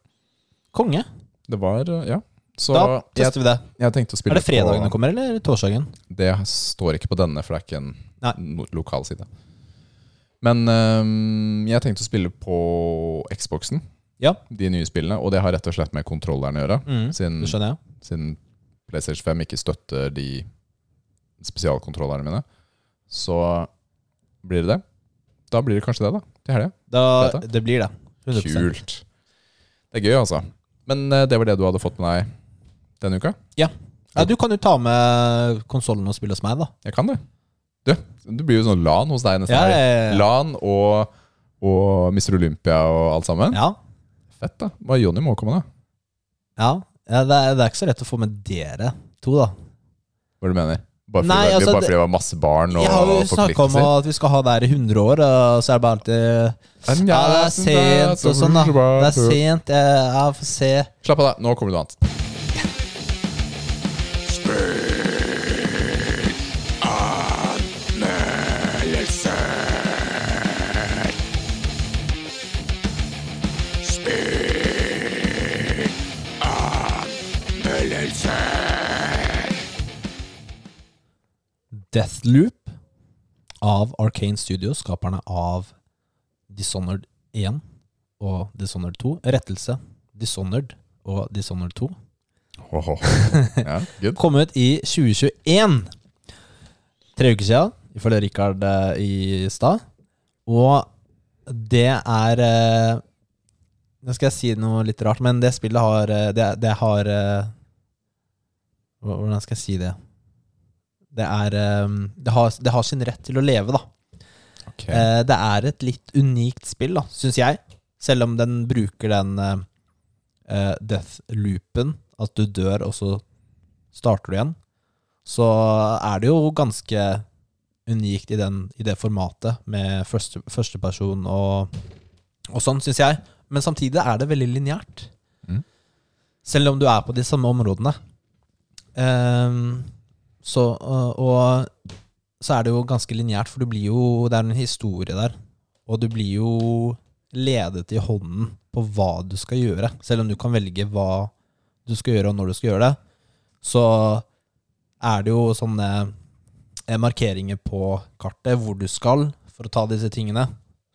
A: Konge.
B: Det var uh, Ja. Så
A: Da
B: jeg,
A: tester vi det.
B: jeg tenkte å
A: Er
B: spille
A: det fredagen
B: på-
A: det kommer, eller torsdagen?
B: Det står ikke på denne, for det er ikke en
A: Nei.
B: no lokal side. Men øhm, jeg tenkte å spille på Xboxen,
A: Ja.
B: de nye spillene. Og det har rett og slett med kontrolleren å gjøre,
A: Mm,
B: siden,
A: det skjønner jeg.
B: siden PlayStation 5 ikke støtter de spesialkontrollerne mine. Så blir det det. Da blir det kanskje det, da. Til helga.
A: Da,
B: Dette?
A: det blir det. 100%.
B: Kult. Det er gøy, altså. Men øh, det var det du hadde fått med deg denne uka?
A: Ja, du kan jo ta med konsollen og spille hos meg, da.
B: Jeg kan det. Du, det blir jo sånn LAN hos deg neste
A: Ja,
B: helg.
A: ja, ja.
B: LAN og, og Mr. Olympia og alt sammen.
A: Ja,
B: Fett, da. Hva Jonny må komme, da.
A: ja. ja det, er, det er ikke så lett å få med dere to, da.
B: Hva du mener? Bare fordi,
A: Nei,
B: det,
A: altså,
B: bare
A: det-
B: fordi det var masse barn og
A: Jeg har jo snakka om
B: forpliktelser?
A: at vi skal ha det her i 100 år, og så er det bare alltid Ja, det er sent og sånn, da. Det er sent. Jeg, jeg får se.
B: Slapp av, da. Nå kommer det noe annet.
A: Deathloop av Arcane Studios, skaperne av Dishonored 1 og Dishonored 2. Rettelse Dishonored og Dishonored 2.
B: Ho,
A: [LAUGHS]
B: ho, ho. Ja, good.
A: Kom ut i 2021. Tre uker siden, ifølge Richard eh, i stad. Og det er eh, Nå skal jeg si noe litt rart, men det spillet har eh, Det, det har eh, hva- Hvordan skal jeg si det? Det er eh, det har, det har sin rett til å leve, da.
B: Ok.
A: Eh, Det er et litt unikt spill, da, syns jeg. Selv om den bruker den eh, eh, death-loopen, at du dør, og så starter du igjen, så er det jo ganske unikt i, den, i det formatet, med første, førsteperson og, og sånn, syns jeg. Men samtidig er det veldig lineært.
B: Mm.
A: Selv om du er på de samme områdene. Ehm, så, og, og så er det jo ganske lineært, for du blir jo, det er en historie der. Og du blir jo ledet i hånden på hva du skal gjøre. Selv om du kan velge hva du skal gjøre og når du skal gjøre det, så er det jo sånne eh, markeringer på kartet hvor du skal for å ta disse tingene.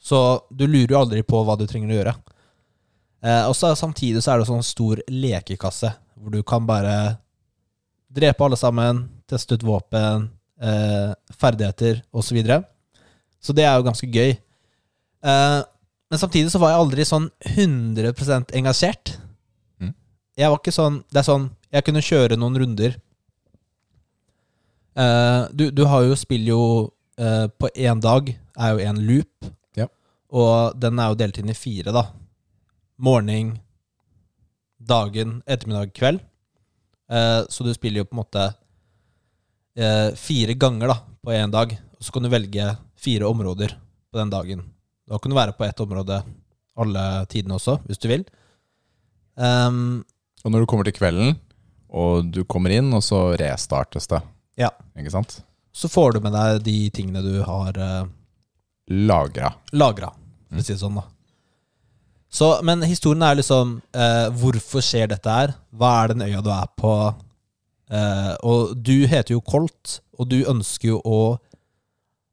A: Så du lurer jo aldri på hva du trenger å gjøre. Eh, og så samtidig så er det sånn stor lekekasse hvor du kan bare drepe alle sammen, teste ut våpen, eh, ferdigheter osv. Så, videre. så det er jo ganske gøy. Eh, men samtidig så var jeg aldri sånn 100 engasjert.
B: Mm.
A: Jeg var ikke sånn Det er sånn Jeg kunne kjøre noen runder. Eh, du, du har jo spill jo eh, På én dag er jo en loop,
B: Ja.
A: og den er jo delt inn i fire, da. Morgen, dagen, ettermiddag, kveld. Eh, så du spiller jo på en måte eh, fire ganger da, på én dag. Og så kan du velge fire områder på den dagen. Da kan du være på ett område alle tidene også, hvis du vil. Ehm,
B: Og når du kommer til kvelden, og du kommer inn, og så restartes det.
A: Ja.
B: Ikke sant?
A: så får du med deg de tingene du har eh,
B: Lagra.
A: lagra, for å si det sånn. da. Så, men historien er liksom eh, Hvorfor skjer dette her? Hva er den øya du er på? Eh, og du heter jo Colt, og du ønsker jo å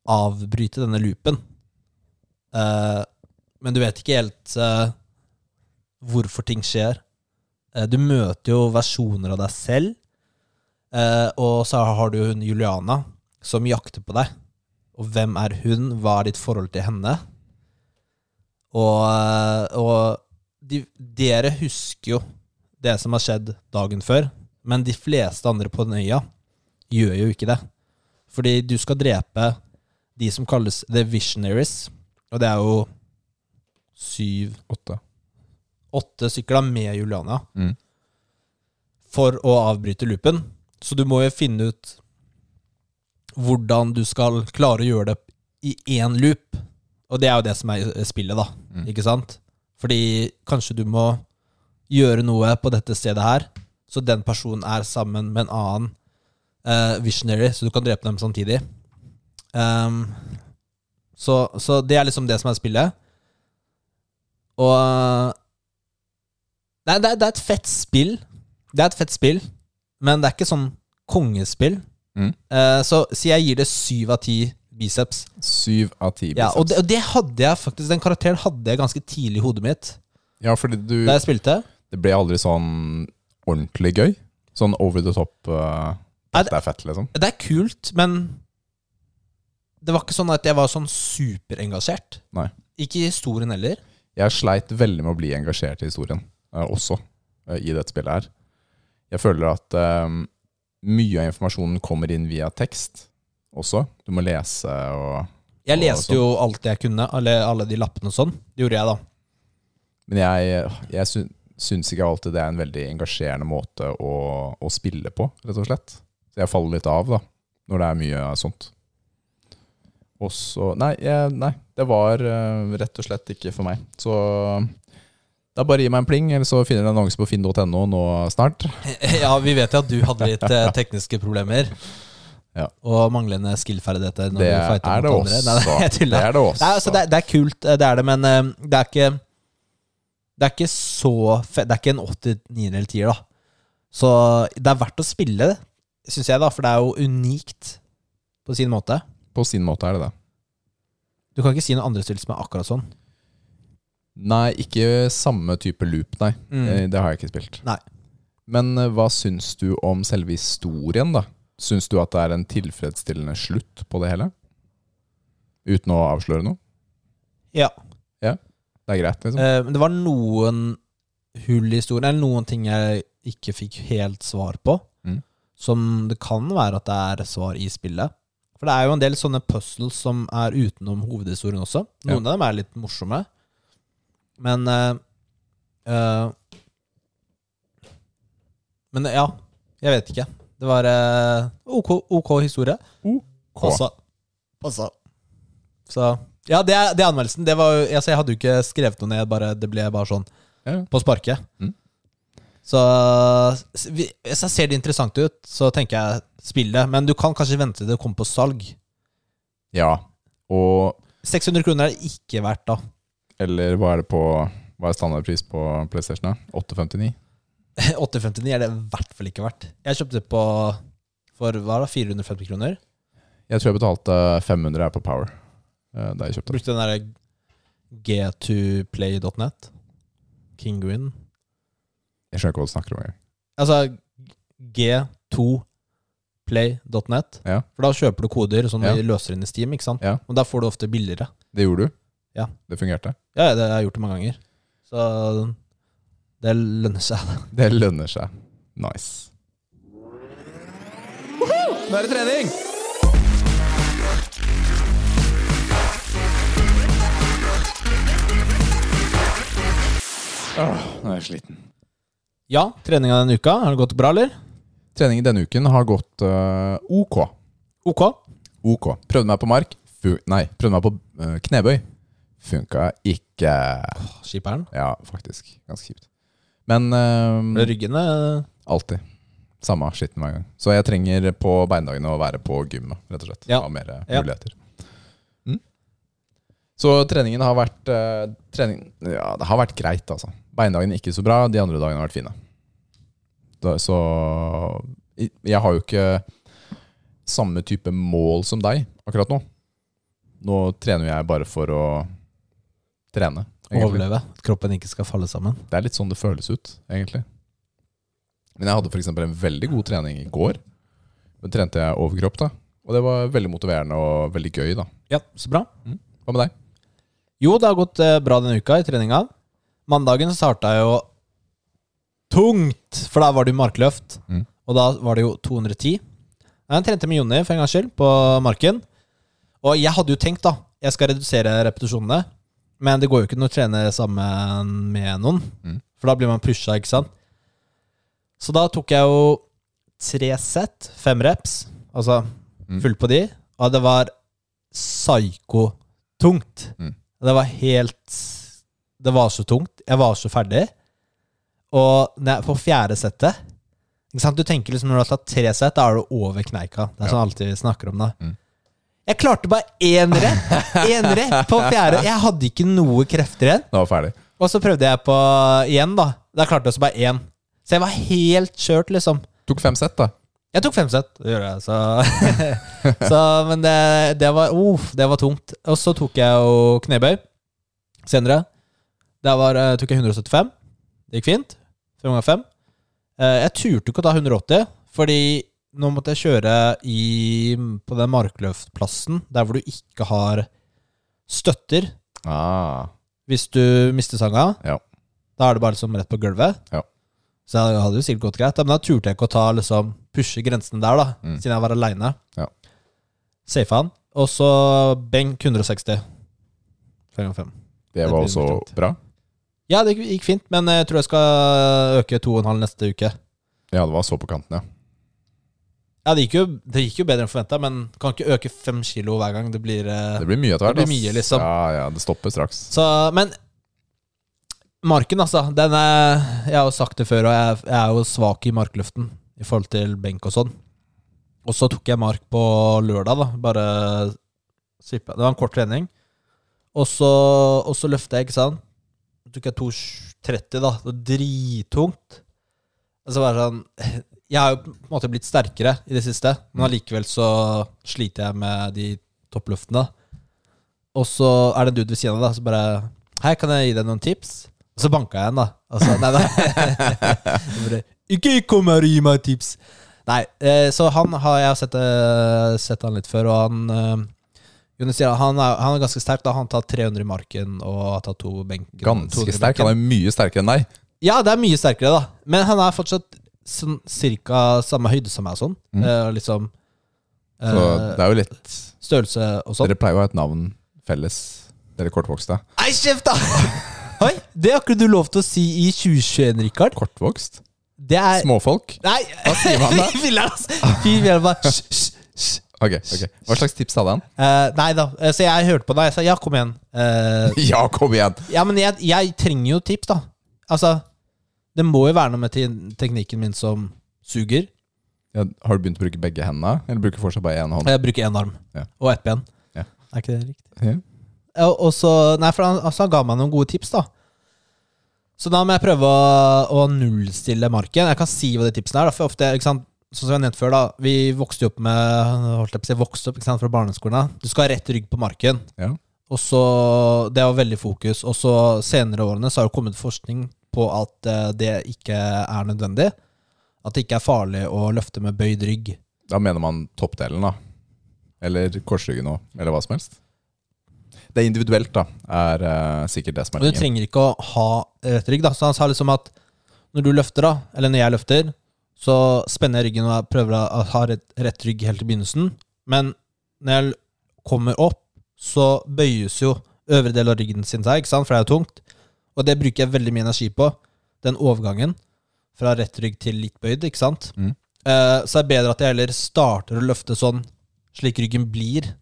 A: avbryte denne loopen. Eh, men du vet ikke helt eh, hvorfor ting skjer. Eh, du møter jo versjoner av deg selv, eh, og så har du hun Juliana som jakter på deg. Og hvem er hun? Hva er ditt forhold til henne? Og, og de, dere husker jo det som har skjedd dagen før, men de fleste andre på den øya gjør jo ikke det. Fordi du skal drepe de som kalles The Visionaries, og det er jo syv,
B: Åtte.
A: åtte stykker da, med Juliana,
B: Mm.
A: for å avbryte loopen. Så du må jo finne ut hvordan du skal klare å gjøre det i én loop. Og det er jo det som er spillet, da.
B: Mm.
A: Ikke sant? Fordi kanskje du må gjøre noe på dette stedet her, så den personen er sammen med en annen eh, visionary, så du kan drepe dem samtidig. Ehm, så, så det er liksom det som er spillet. Og Nei, det er, det er et fett spill. Det er et fett spill, men det er ikke sånn kongespill.
B: Mm.
A: Eh, så si jeg gir det syv av ti biceps.
B: Syv av ti biceps.
A: Ja, og, det, og det hadde jeg faktisk Den karakteren hadde jeg ganske tidlig i hodet mitt
B: ja, fordi du
A: da jeg spilte.
B: Det ble aldri sånn ordentlig gøy. Sånn over the top. eh,
A: Nei,
B: dette er fett, liksom.
A: Det er kult, men det var ikke sånn at jeg var sånn superengasjert.
B: Nei.
A: Ikke i historien heller.
B: Jeg sleit veldig med å bli engasjert i historien eh, også, eh, i dette spillet her. Jeg føler at eh, mye av informasjonen kommer inn via tekst også. Du må lese og
A: Jeg
B: Og
A: leste
B: sånn.
A: jo alt det jeg kunne, alle, alle de lappene og sånn. Det gjorde jeg, da.
B: Men jeg, jeg sy- syns ikke alltid det er en veldig engasjerende måte å, å spille på, rett og slett. Så jeg faller litt av, da, når det er mye sånt. Og så nei, jeg, nei, det var eh, rett og slett ikke for meg. Så da bare gi meg en pling, eller så finner du en annonse på finn.no nå snart.
A: [LAUGHS] Ja, vi vet jo at du hadde litt eh, tekniske problemer.
B: Ja.
A: Og manglende skillferdigheter. Når
B: Det
A: du
B: er
A: fighter mot andre.
B: det
A: Nei,
B: også.
A: Nei, jeg
B: Det
A: tuller.
B: er det også.
A: Nei, altså, det, er- det er kult, eh, det er det, men eh, det er ikke Det er ikke så fe- Det er ikke en 8, 9 eller 10, da. Så det er verdt å spille, syns jeg, da, for det er jo unikt på sin måte.
B: På sin måte er det det.
A: Du kan ikke si noen andre spill som er akkurat sånn.
B: Nei, ikke samme type loop, nei.
A: Mm.
B: Eh, Det har jeg ikke spilt.
A: Nei.
B: Men eh, hva syns du om selve historien, da? Syns du at det er en tilfredsstillende slutt på det hele? Uten å avsløre noe?
A: Ja.
B: Det er greit, liksom?
A: Eh, Men det var noen hull i historien, eller noen ting jeg ikke fikk helt svar på,
B: Mm.
A: som det kan være at det er svar i spillet. For det er jo en del sånne puzzles som er utenom hovedhistorien også. Noen av dem er litt morsomme, men eh, eh, Men ja, jeg vet ikke. Det var eh, OK, OK historie. Passa. Passa. Så Ja, det er, det er anmeldelsen. Det var, jo- altså, jeg hadde jo ikke skrevet noe ned, bare, det ble bare sånn
B: Ja.
A: på sparket.
B: Mm.
A: Så s- vi- hvis jeg ser det interessant ut, så tenker jeg spill det. Men du kan kanskje vente til det kommer på salg.
B: Ja. Og
A: 600 kroner er det ikke verdt, da. [LAUGHS]
B: Eller hva er det på Hva er standardpris på PlayStation? da? 859?
A: 859 er det i hvert fall ikke verdt. Jeg kjøpte det på for hva da, 450 kroner.
B: Jeg tror jeg betalte 500 her på Power. eh, Da jeg kjøpte.
A: Brukte den derre g2play.net. Kinguin.
B: Jeg skjønner ikke hva du snakker om engang.
A: Altså g2play.net.
B: Ja.
A: For da kjøper du koder som
B: Ja.
A: de løser inn i Steam, ikke sant?
B: Ja.
A: Og da får du ofte billigere.
B: Det gjorde du?
A: Ja.
B: Det fungerte?
A: Ja, ja, det har jeg gjort det mange ganger. Så det lønner seg. [LAUGHS]
B: Det lønner seg. Nice.
A: Nå er det trening!
B: Nå er jeg sliten.
A: Ja, treninga denne uka. Har det gått bra, eller?
B: Treningen denne uken har gått eh, ok.
A: Ok.
B: Ok. Prøvde meg på mark. Fu nei, prøvde meg på eh, knebøy. Funka ikke.
A: Skipperen.
B: Ja, faktisk. Ganske kjipt. Men eh,
A: Ble ryggene
B: alltid. Samme skitten hver gang. Så jeg trenger på beinagene å være på gymmet, rett og slett.
A: Ja.
B: Ha mer eh,
A: Ja.
B: muligheter. Mm. Så treningen har vært eh, trening, Ja, det har vært greit, altså. Beindagene ikke så bra, de andre dagene har vært fine. Da, så i- Jeg har jo ikke samme type mål som deg akkurat nå. Nå trener jeg bare for å trene. egentlig.
A: overleve. At kroppen ikke skal falle sammen.
B: Det er litt sånn det føles ut, egentlig. Men jeg hadde f.eks. en veldig god trening i går. Da trente jeg overkropp, da. Og det var veldig motiverende og veldig gøy, da.
A: Ja, så bra.
B: Hva med deg?
A: Jo, det har gått eh, bra denne uka i treninga. Mandagen starta jo tungt, for da var det jo markløft.
B: Mm.
A: Og da var det jo 210. Jeg trente med Jonny for en gangs skyld på marken. Og jeg hadde jo tenkt, da, jeg skal redusere repetisjonene. Men det går jo ikke når du trener sammen med noen,
B: Mm.
A: for da blir man pusha, ikke sant. Så da tok jeg jo tre sett, fem reps, altså
B: Mm.
A: fullt på de, og det var psyko tungt.
B: Mm.
A: Det var helt Det var så tungt. Jeg var så ferdig. Og når jeg, på fjerde settet ikke sant? Du tenker liksom når du har tatt tre sett, da er du over kneika. Det er sånn alltid vi snakker om det. Jeg klarte bare én rett! Én rett på fjerde. Jeg hadde ikke noe krefter igjen.
B: Nå var jeg ferdig.
A: Og så prøvde jeg på igjen, da. Da klarte jeg også bare én. Så jeg var helt kjørt, liksom.
B: Tok fem sett, da.
A: Jeg tok fem sett, det gjorde jeg. Så, [LAUGHS] så Men det, det var uff, det var tungt. Og så tok jeg jo knebøy senere. Der var, eh, tok jeg 175. Det gikk fint. Fem ganger fem. Eh, Jeg turte ikke å ta 180, fordi nå måtte jeg kjøre i, på den markløftplassen der hvor du ikke har støtter
B: Ah.
A: hvis du mister sanga.
B: Ja.
A: Da er det bare liksom rett på gulvet.
B: Ja.
A: Så jeg hadde jo sikkert gått greit, men da turte jeg ikke å ta, liksom, pushe grensene der, da,
B: Mm.
A: siden jeg var aleine.
B: Ja.
A: Safa han. Og så benk 160. 5 ganger 5.
B: Det
A: Det
B: var
A: blir
B: også
A: morsomt.
B: bra.
A: Ja, det gikk- gikk fint, men jeg tror jeg skal øke 2,5 neste uke.
B: Ja, det var så på kanten, ja.
A: Ja, det gikk jo, det gikk jo bedre enn forventa, men kan ikke øke 5 kilo hver gang. Det blir, eh,
B: Det blir mye etter hvert.
A: Det
B: ass.
A: blir mye, liksom.
B: Ja, ja, det stopper straks.
A: Så, men marken, altså. Den er, jeg har jo sagt det før, og jeg, jeg er jo svak i markløften i forhold til benk og sånn. Og så tok jeg mark på lørdag, da. Bare svippe. Det var en kort trening. Og så, og så løfta jeg, ikke sant. Så tok jeg 2,30, da. Det var drittungt. Altså bare sånn [LAUGHS] Jeg har jo på en måte blitt sterkere i det siste,
B: Mm.
A: men allikevel så sliter jeg med de toppløftene. Og så er det en dude ved siden av, da, så bare Hei, kan jeg gi deg noen tips? Og så banka jeg en, da. Og så, nei, nei. [LAUGHS] Så bare, Ikke kom her og gi meg tips! Nei, eh, så han har jeg har sett, eh, sett han litt før, og han eh, Jonas sier at han er, han er ganske sterk. da Han tar 300 i marken og har tatt to benken.
B: Ganske
A: 200 i
B: sterk.
A: benken.
B: Han er mye sterkere enn deg.
A: Ja, det er mye sterkere, da. Men han er fortsatt sånn cirka samme høyde som meg og sånn. Eh, liksom
B: Mm. Så
A: eh,
B: det er jo litt
A: Størrelse og sånn.
B: Dere pleier jo å ha et navn felles, dere kortvokste.
A: Nei, kjeft,
B: [LAUGHS]
A: da! Oi, det har ikke du lov til å si i 2021, Rikard.
B: Kortvokst?
A: Det er
B: Småfolk?
A: Nei! Hva
B: sier man
A: [LAUGHS]
B: da?
A: Fy filler, bare hysj, hysj, hysj.
B: Ok, ok. Hva slags tips hadde han? [LAUGHS]
A: Eh, Nei da. eh, Så jeg hørte på deg. Jeg sa ja, kom igjen. Eh,
B: Ja, kom igjen!
A: ja, men jeg, jeg trenger jo tips, da. Altså, det må jo være noe med te- teknikken min som suger.
B: Ja, har du begynt å bruke begge hendene? Eller bruker du fortsatt bare én hånd?
A: Jeg bruker én arm
B: Ja.
A: og ett ben.
B: Ja.
A: Er ikke det riktig?
B: Ja.
A: Ja, Og så, nei, for han, altså han ga meg noen gode tips, da. Så da må jeg prøve å, å nullstille marken. Jeg kan si hva de tipsene er. Da, for ofte, ikke sant, sånn som jeg nevnte før, da, vi vokste jo opp med holdt jeg på å si, vokste opp ikke sant, fra barneskolen. av. Du skal ha rett rygg på marken.
B: Ja.
A: Og så, Det var veldig fokus. Og så senere årene så har det kommet forskning på at eh, det ikke er nødvendig. At det ikke er farlig å løfte med bøyd rygg.
B: Da mener man toppdelen, da. Eller korsryggen òg. Eller hva som helst. Det er individuelt, da. Er eh, sikkert det som er
A: Men du
B: tingen.
A: trenger ikke å ha rett rygg. Da. Så han sa liksom at når du løfter, da, eller når jeg løfter, så spenner jeg ryggen og jeg prøver å ha rett, rett rygg helt i begynnelsen. Men når jeg kommer opp, så bøyes jo øvre del av ryggen sin seg, ikke sant? for det er jo tungt. Og det bruker jeg veldig mye energi på, den overgangen fra rett rygg til litt bøyd, ikke sant.
B: Mm.
A: Eh, så er det bedre at jeg heller starter å løfte sånn, slik ryggen blir,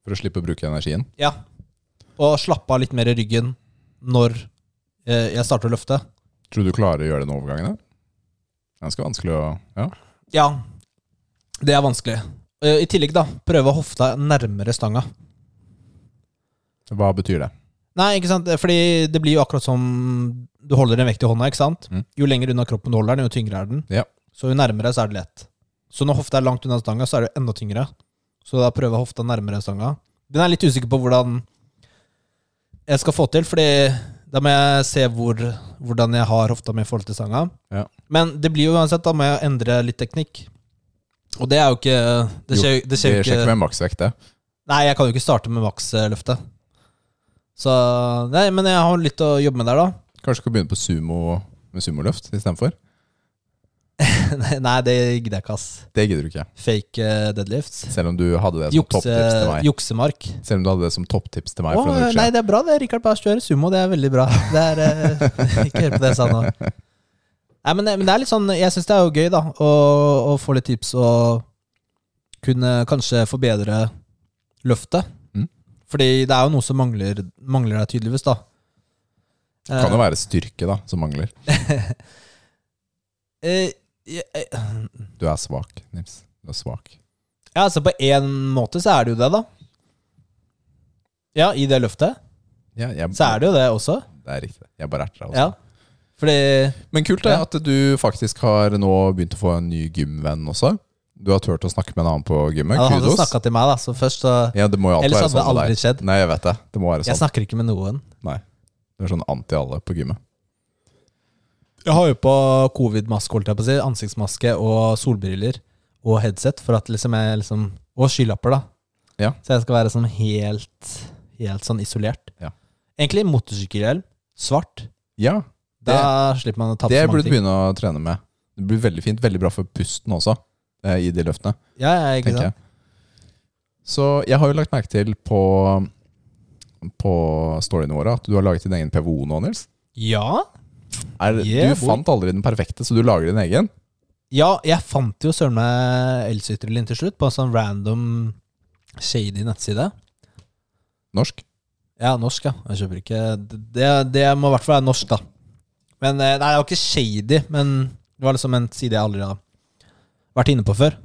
B: For å slippe å bruke energien.
A: ja. Og slappe av litt mer i ryggen når eh, jeg starter å løfte.
B: Tror du du klarer å gjøre den overgangen der? Det er Ganske vanskelig å Ja.
A: Ja. Det er vanskelig. Eh, I tillegg, da, prøve hofta nærmere stanga.
B: Hva betyr det?
A: Nei, ikke sant? Fordi det blir jo akkurat som du holder en vekt i hånda. ikke sant?
B: Mm.
A: Jo lenger unna kroppen du holder den, jo tyngre er den.
B: Ja.
A: Så jo nærmere, så er det lett. Så når hofta er langt unna stanga, så er det jo enda tyngre. Så da prøver jeg hofta nærmere stanga. Den er jeg litt usikker på hvordan jeg skal få til, fordi da må jeg se hvor, hvordan jeg har hofta mi i forhold til stanga.
B: Ja.
A: Men det blir jo uansett, da må jeg endre litt teknikk. Og det er jo ikke Det skjer jo det skjer jo
B: Vi sjekker
A: ikke
B: med maksvekt, det.
A: Nei, jeg kan jo ikke starte med maksløftet. Så Nei, men jeg har litt å jobbe med der, da. [LAUGHS]
B: Kanskje du skal begynne på sumo med sumoløft istedenfor?
A: Nei, det gidder jeg ikke, ass.
B: Det gidder du ikke.
A: Fake eh, deadlifts.
B: Selv om du hadde det som
A: Jukse,
B: topptips til meg.
A: juksemark.
B: Selv om du hadde det som topptips til meg
A: eh,
B: for
A: Åh,
B: en uke
A: nei,
B: siden.
A: det er bra det. Rikard bare kjører sumo. Det er veldig bra. Det er, eh, [LAUGHS] ikke hør på det jeg sa nå. Nei, men, det- men det er litt sånn Jeg syns det er jo gøy, da, å, å få litt tips og kunne kanskje forbedre løftet.
B: Mm.
A: Fordi det er jo noe som mangler, mangler deg, tydeligvis, da.
B: Det kan jo være styrke da, som mangler.
A: Eh, ja, eh,
B: Du er svak, Nils. Du er svak.
A: ja, altså på en måte så er det jo det, da. Ja, i det løftet
B: Ja, jeg,
A: så er det jo det også.
B: Det er riktig. Jeg bare erter deg også.
A: Ja. Fordi
B: Men kult er
A: Ja.
B: at du faktisk har nå begynt å få en ny gymvenn også. Du har turt å snakke med en annen på gymmet.
A: ja, han
B: Kudos.
A: snakka til meg, da, så først så
B: Ja, det må jo alltid
A: Ellers
B: være
A: hadde det
B: sånn med
A: aldri
B: deg.
A: skjedd.
B: Nei, jeg vet det. Det må være
A: Jeg
B: sånn.
A: snakker ikke med noen.
B: Nei. Du er sånn anti alle på gymmet.
A: Jeg har jo på covid-maske, holdt jeg på å si. Ansiktsmaske og solbriller og headset. For at liksom jeg liksom Og skylapper, da.
B: Ja.
A: Så jeg skal være sånn helt Helt sånn isolert.
B: Ja.
A: Egentlig motorsykkelhjelm. Svart.
B: Ja,
A: Da slipper man å tape
B: det
A: så
B: burde
A: mange
B: du
A: ting.
B: begynne å trene med. Det blir veldig fint. Veldig bra for pusten også, eh, i de løftene,
A: Ja, ja, ikke
B: tenker
A: sant?
B: jeg. Så jeg har jo lagt merke til på, på storyene våre at du har laget din egen PVO nå, Nils.
A: Ja.
B: Er,
A: Yeah,
B: du
A: boy.
B: fant aldri den perfekte, så du lager din egen.
A: ja, jeg fant jo søren meg elsytrelin til slutt på en sånn random shady nettside.
B: Norsk.
A: Ja, norsk, ja. Jeg kjøper ikke Det, det må i hvert fall være norsk, da. Men eh, Nei, det var ikke shady, men det var liksom en side jeg aldri har vært inne på før.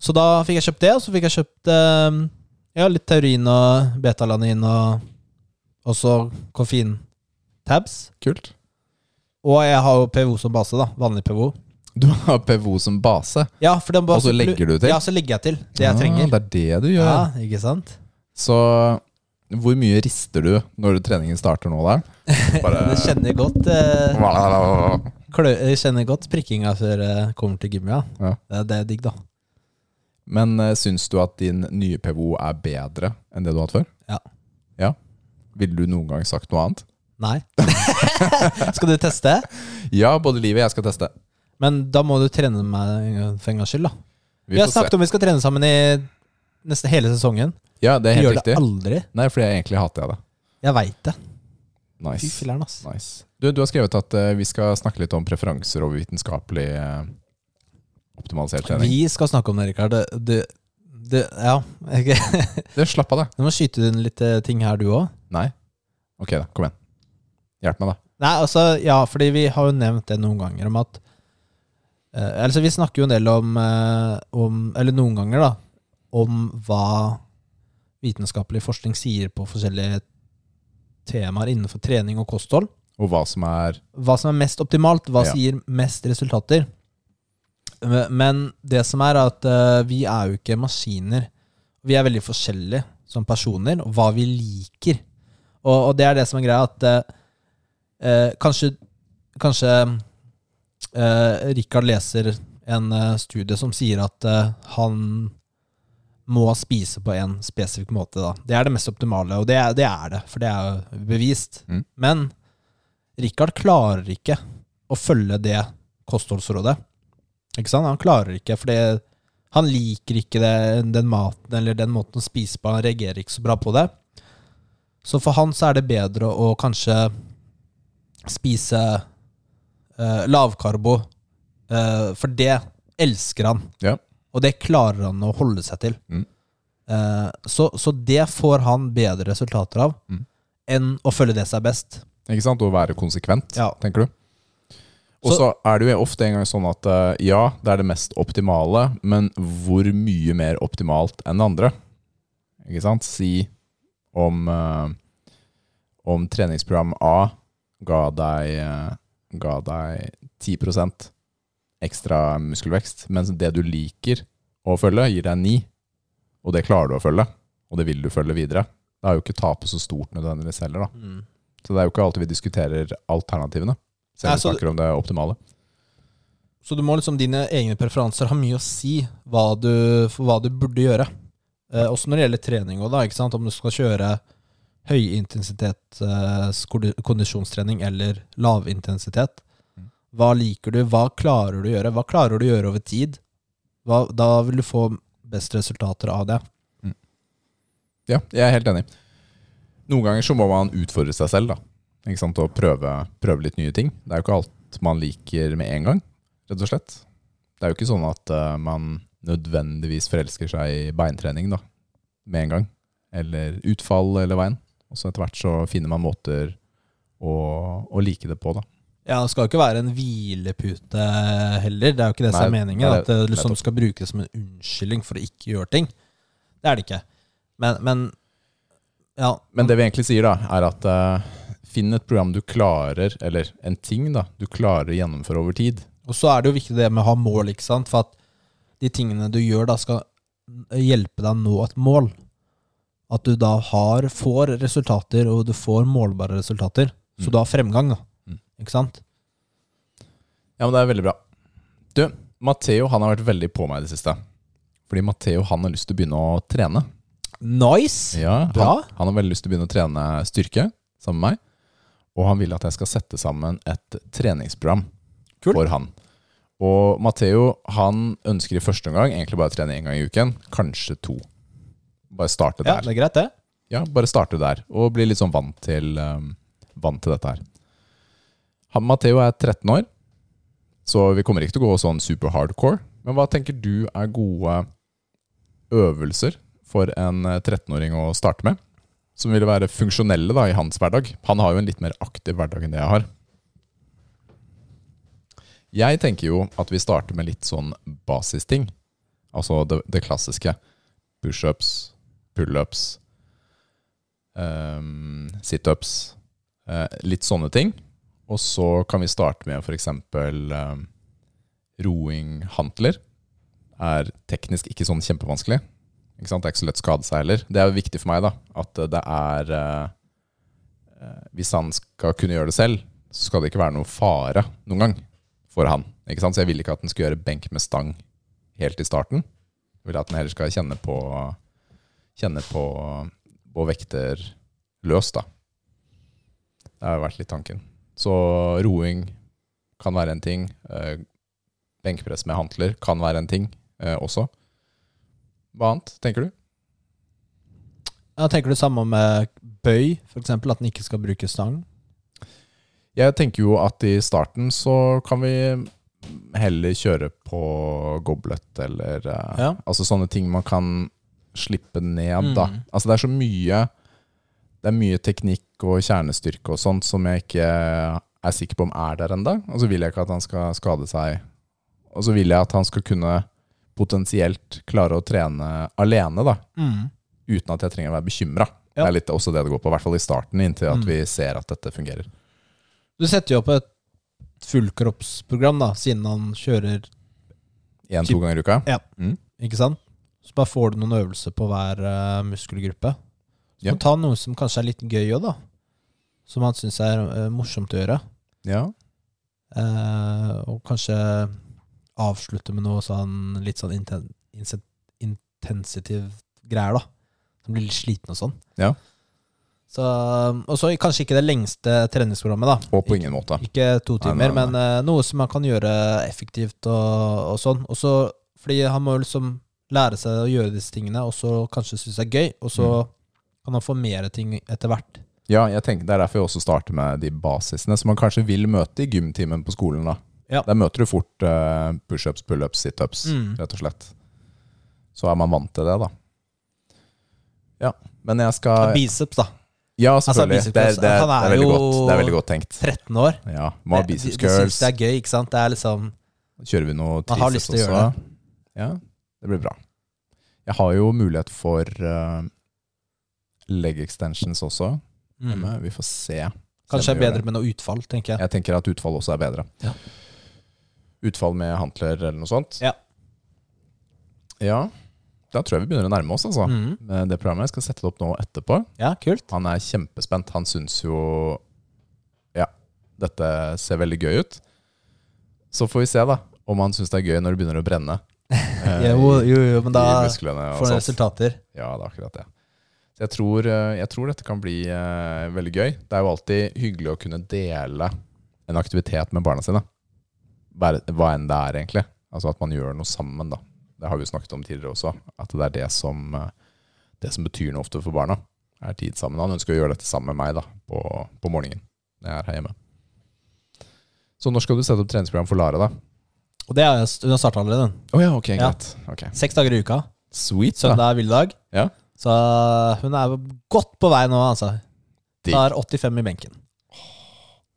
A: Så da fikk jeg kjøpt det, og så fikk jeg kjøpt eh, ja, litt taurin og betalanin og også koffeintabs.
B: Kult.
A: Og jeg har jo PVO som base, da. Vanlig PVO.
B: Du har PVO som base.
A: Ja, for den
B: Og så legger du til?
A: Ja, så legger jeg til det jeg
B: Ah,
A: trenger.
B: Det er det du gjør.
A: Ja, ikke sant?
B: Så hvor mye rister du når treningen starter nå
A: [LAUGHS]
B: der?
A: Jeg kjenner godt eh,
B: [LAUGHS] Men
A: Klø jeg kjenner godt prikkinga før jeg kommer til gymmet. Ja.
B: Ja.
A: Det, det er digg, da.
B: eh, syns du at din nye PVO er bedre enn det du har hatt før?
A: Ja.
B: Ja? Ville du noen gang sagt noe annet?
A: Nei. [LAUGHS] skal du teste?
B: Ja, både livet og jeg skal teste.
A: Men da må du trene meg en gang- for en gangs skyld, da. Vi,
B: Vi
A: har
B: får se.
A: snakket om vi skal trene sammen i nesten hele sesongen.
B: Ja,
A: Vi
B: det er helt
A: gjør
B: riktig.
A: det aldri.
B: Nei, fordi jeg egentlig hater jeg det.
A: Jeg veit det. Fy
B: Nice.
A: filler'n, ass.
B: nice. Du, du har skrevet at eh, vi skal snakke litt om preferanser og vitenskapelig eh, optimalisert trening.
A: Vi skal snakke om det, Rikard. Du, du Ja. [LAUGHS] ok.
B: Det, slapp av, da.
A: Du må skyte inn litt eh, ting her, du òg.
B: Nei? Ok, da. Kom igjen. Hjelp meg, da.
A: Nei, altså, ja, fordi vi har jo nevnt det noen ganger om at eh, Altså, vi snakker jo en del om, eh, om Eller noen ganger, da, om hva vitenskapelig forskning sier på forskjellige temaer innenfor trening og kosthold.
B: Og hva som er
A: Hva som er mest optimalt, hva
B: Ja.
A: som gir mest resultater. Men det som er at eh, vi er jo ikke maskiner. Vi er veldig forskjellige som personer, og hva vi liker. Og, og det er det som er greia, at eh, eh, kanskje, kanskje eh, Rikard leser en eh, studie som sier at eh, han må spise på en spesifikk måte. Da. Det er det mest optimale, og det er det, er det for det er jo bevist.
B: Mm.
A: Men Rikard klarer ikke å følge det kostholdsrådet. Ikke sant? Han klarer ikke, for det, han liker ikke det, den maten eller den måten å spise på. Han reagerer ikke så bra på det. Så for han så er det bedre å kanskje spise eh, lavkarbo, eh, for det elsker han.
B: Ja.
A: Og det klarer han å holde seg til.
B: Mm.
A: Eh, så, så det får han bedre resultater av
B: Mm.
A: enn å følge det seg best.
B: Ikke sant? Å være konsekvent,
A: Ja.
B: tenker du. Og så er det jo ofte en gang sånn at eh, ja, det er det mest optimale, men hvor mye mer optimalt enn det andre? Ikke sant? Si om, eh, om treningsprogram A ga deg, eh, ga deg 10 ekstra muskelvekst, mens det du liker å følge, gir deg 9 og det klarer du å følge, og det vil du følge videre. Det er jo ikke tapet så stort nødvendigvis heller, da.
A: Mm.
B: Så det er jo ikke alltid vi diskuterer alternativene. Selv om
A: Nei,
B: vi
A: så-
B: snakker om det optimale.
A: Så du må liksom dine egne preferanser ha mye å si hva du, for hva du burde gjøre. Eh, også når det gjelder trening òg, da. Ikke sant? Om du skal kjøre høyintensitet eh, skondi- kondisjonstrening eller lavintensitet. Hva liker du? Hva klarer du å gjøre? Hva klarer du å gjøre over tid? Hva, da vil du få best resultater av det.
B: Ja, jeg er helt enig. Noen ganger så må man utfordre seg selv, da. Ikke sant? Og prøve, prøve litt nye ting. Det er jo ikke alt man liker med en gang, rett og slett. Det er jo ikke sånn at eh, man nødvendigvis forelsker seg i beintrening da, med en gang. Eller utfall eller veien. Og så etter hvert så finner man måter og, og like det på, da.
A: Ja, det skal jo ikke være en hvilepute heller. Det er jo ikke det som er
B: Nei,
A: meningen.
B: nei,
A: At det liksom
B: nettopp.
A: skal brukes som en unnskyldning for å ikke gjøre ting. Det er det ikke. Men, men ja.
B: Men det vi egentlig sier, da, er at eh, finn et program du klarer, eller en ting da, du klarer å gjennomføre over tid.
A: Og så er det jo viktig det med å ha mål, ikke sant? For at de tingene du gjør da, skal hjelpe deg å nå et mål. At du da har, får resultater, og du får målbare resultater. Så
B: Mm.
A: du har fremgang, da.
B: Mm.
A: Ikke sant?
B: Ja, men det er veldig bra. Du, Matteo han har vært veldig på meg i det siste. Fordi Matteo han har lyst til å begynne å trene.
A: Nice!
B: Ja,
A: Bra.
B: han, han har veldig lyst til å begynne å trene styrke sammen med meg. Og han vil at jeg skal sette sammen et treningsprogram
A: Kult.
B: for han. Og Matteo han ønsker i første omgang egentlig bare å trene én gang i uken, kanskje to. Bare starte
A: Ja,
B: der.
A: det er greit, det.
B: Ja, bare starte der, og bli litt sånn vant til, um, vant til dette her. Han Matteo er 13 år, så vi kommer ikke til å gå sånn super hardcore. Men hva tenker du er gode øvelser for en eh, 13-åring å starte med? Som ville være funksjonelle da, i hans hverdag. Han har jo en litt mer aktiv hverdag enn det jeg har. Jeg tenker jo at vi starter med litt sånn basisting. Altså det, det klassiske. Pushups, pullups, um, situps, eh, litt sånne ting. Og så kan vi starte med f.eks. Um, roing hantler. Er teknisk ikke sånn kjempevanskelig. Ikke sant? Det er ikke så lett å skade seg heller. Det er jo viktig for meg da, at eh, det er eh, eh, Hvis han skal kunne gjøre det selv, så skal det ikke være noe fare noen gang for han. Ikke sant? Så jeg vil ikke at han skal gjøre benk med stang helt i starten. Jeg vil at han heller skal kjenne på, kjenne på og vekter løs, da. Det har vært litt tanken. Så roing kan være en ting. Eh, Benkpress med hantler kan være en ting eh, også. Hva annet tenker du?
A: Ja, tenker du samme med bøy, for eksempel, at den ikke skal bruke stang?
B: Jeg tenker jo at i starten så kan vi heller kjøre på goblet eller eh,
A: Ja.
B: Altså sånne ting man kan slippe ned,
A: Mm.
B: da. Altså det er så mye Det er mye teknikk og kjernestyrke og sånt som jeg ikke er sikker på om er der ennå. Og så vil jeg ikke at han skal skade seg. Og så vil jeg at han skal kunne potensielt klare å trene alene, da uten at jeg trenger å være bekymra.
A: Ja.
B: Det er litt også det det går på, i hvert fall i starten, inntil at
A: Mm.
B: vi ser at dette fungerer.
A: Du setter jo opp et fullkroppsprogram, da, siden han kjører,
B: Én-to ganger i uka.
A: ikke sant? Så bare får du noen øvelser på hver eh, muskelgruppe. Så
B: Ja.
A: ta noe som kanskje er litt gøy òg, da. Som han syns er eh, morsomt å gjøre.
B: Ja.
A: Eh, og kanskje avslutte med noe sånn litt sånn inten insen- intensitive greier, da. Som blir litt sliten og sånn.
B: Ja.
A: Så, og så kanskje ikke det lengste treningsprogrammet, da.
B: Og på ingen måte.
A: Ikke to
B: Nei,
A: timer,
B: nei, nei.
A: men eh, noe som man kan gjøre effektivt og, og sånn. Og så, fordi han må jo liksom lære seg å gjøre disse tingene, og så kanskje synes det er gøy, og så kan han få mer ting etter hvert.
B: Mm. Ja, jeg tenker Det er derfor jeg også starter med de basisene som man kanskje vil møte i gymtimen på skolen. da.
A: Ja.
B: Der møter du fort eh, pushups, pullups, situps,
A: Mm.
B: rett og slett. Så er man vant til det, da. Ja, men jeg skal
A: Biceps, da.
B: Ja, selvfølgelig.
A: Altså, biceps, altså,
B: det, er- det, er-
A: han
B: det,
A: er
B: er veldig
A: jo-
B: godt, det er veldig godt tenkt.
A: 13 år.
B: Ja, Må ha
A: Det-
B: biceps
A: de, de synes
B: curls.
A: det er gøy, ikke sant? Det er liksom
B: Kjører vi noe
A: Man har
B: triceps
A: lyst til å
B: også?
A: gjøre
B: Ja, det blir bra. Jeg har jo mulighet for eh, leg extensions også.
A: mm.
B: hjemme. Vi får se.
A: Kanskje
B: Kjenner
A: er
B: vi gjør
A: bedre med noe utfall, tenker jeg.
B: Jeg tenker at utfall også er bedre.
A: Ja.
B: Utfall med hantler eller noe sånt.
A: Ja.
B: Ja, da tror jeg vi begynner å nærme oss, altså.
A: Mm.
B: Med Det programmet jeg skal sette det opp nå etterpå.
A: Ja,
B: [LAUGHS]
A: kult.
B: Han er kjempespent. Han syns jo Ja, dette ser veldig gøy ut. Så får vi se, da, om han syns det er gøy når det begynner å brenne.
A: [LAUGHS]
B: eh,
A: Jo, jo, jo, men da
B: i musklene og
A: får du
B: sånt.
A: resultater.
B: Ja, det er akkurat det. Så jeg tror, eh, jeg tror dette kan bli eh, veldig gøy. Det er jo alltid hyggelig å kunne dele en aktivitet med barna sine. Hver- Hva enn det er, egentlig. Altså at man gjør noe sammen, da. Det har vi jo snakket om tidligere også. At det er det som, eh, det som betyr noe ofte for barna. Er tid sammen. Han ønsker å gjøre dette sammen med meg da, på, på morgenen når jeg er her hjemme. Så når skal du sette opp treningsprogram for Lara, da?
A: Og det er, hun har starta allerede. den.
B: Å ja, ok,
A: Ja.
B: greit. Ok.
A: Seks dager i uka.
B: Sweet, da.
A: Søndag er hviledag. eh,
B: Ja.
A: Så hun er godt på vei nå, altså.
B: Digg.
A: Tar 85 i benken.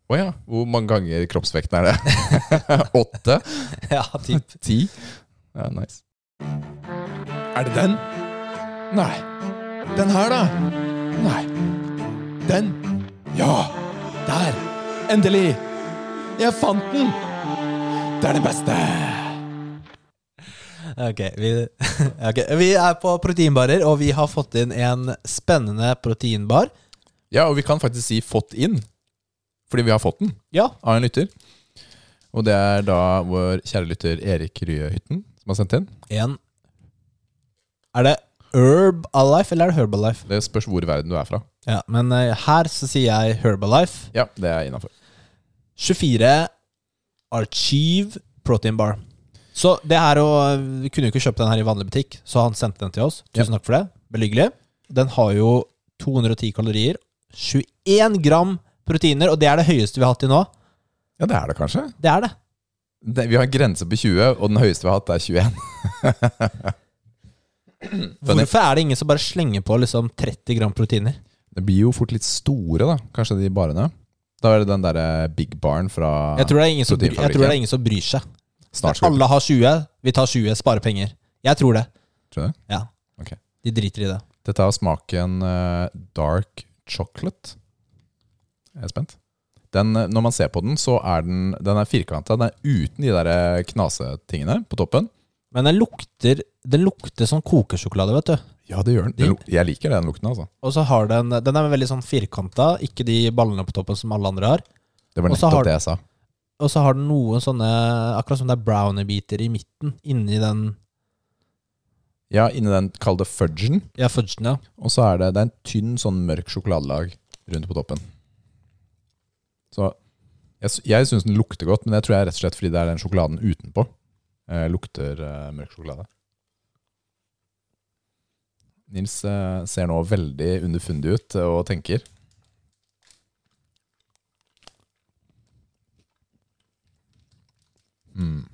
A: [LAUGHS]
B: Å ja. Hvor mange ganger kroppsvekten er det? [LAUGHS] Åtte?
A: ja, typ.
B: Ti? Ja, nice. Er det den? Nei. Den her, da? Nei. Den? Ja! Der! Endelig! Jeg fant den! Det er det beste!
A: Ok, vi, [LAUGHS] ok, vi er på proteinbarer, og vi har fått inn en spennende proteinbar.
B: Ja, og vi kan faktisk si 'fått inn', fordi vi har fått den
A: Ja,
B: av en lytter. Og det er da vår kjære lytter Erik Rye Hytten som har sendt inn.
A: en Er det Herb Alive, eller er det Herbalife?
B: Det spørs hvor i verden du er fra.
A: Ja, men eh, her så sier jeg Herbalife.
B: Ja, det er innafor.
A: 24 Archive Protein Bar. Så det her å, Vi kunne jo ikke kjøpt den her i vanlig butikk, så han sendte den til oss. Tusen takk for det. Veldig hyggelig. Den har jo 210 kalorier, 21 gram proteiner, og det er det høyeste vi har hatt til nå.
B: Ja, det er det kanskje.
A: Det er det.
B: Det, vi har en grense på 20, og den høyeste vi har hatt, er 21. Men det-
A: Hvorfor er det ingen som bare slenger på liksom 30 gram proteiner?
B: Det blir jo fort litt store, da, kanskje de barene. Da er det den derre Big Barn fra
A: Jeg tror det er ingen som, bry- jeg tror det er ingen som bryr seg.
B: Snart skal vi-
A: Alle har 20, vi tar 20, sparer penger. Jeg tror det.
B: Tror du det?
A: Ja.
B: Ok.
A: De driter i det.
B: Dette har smaken eh, dark chocolate. Jeg er spent. Den, eh, når man ser på den, så er den Den er firkanta. Den er uten de der eh, knasetingene på toppen.
A: Men den lukter, den lukter sånn kokesjokolade, vet du.
B: Ja, det gjør den. den. luk- Jeg liker den lukten, altså.
A: Og så har den Den er veldig sånn firkanta, ikke de ballene på toppen som alle andre har.
B: Det var
A: Og så
B: nettopp
A: har-
B: det jeg sa.
A: Og så har den noen sånne Akkurat som det er brownie-biter i midten, inni den
B: Ja, inni den kall det fudgen.
A: Ja, fudgen, ja.
B: Og så er det, det er en tynn sånn mørk sjokoladelag rundt på toppen. Så jeg, sy- jeg syns den lukter godt, men det tror jeg er rett og slett fordi det er den sjokoladen utenpå. Eh, lukter eh, mørk sjokolade. Nils eh, ser nå veldig underfundig ut eh, og tenker. Mm.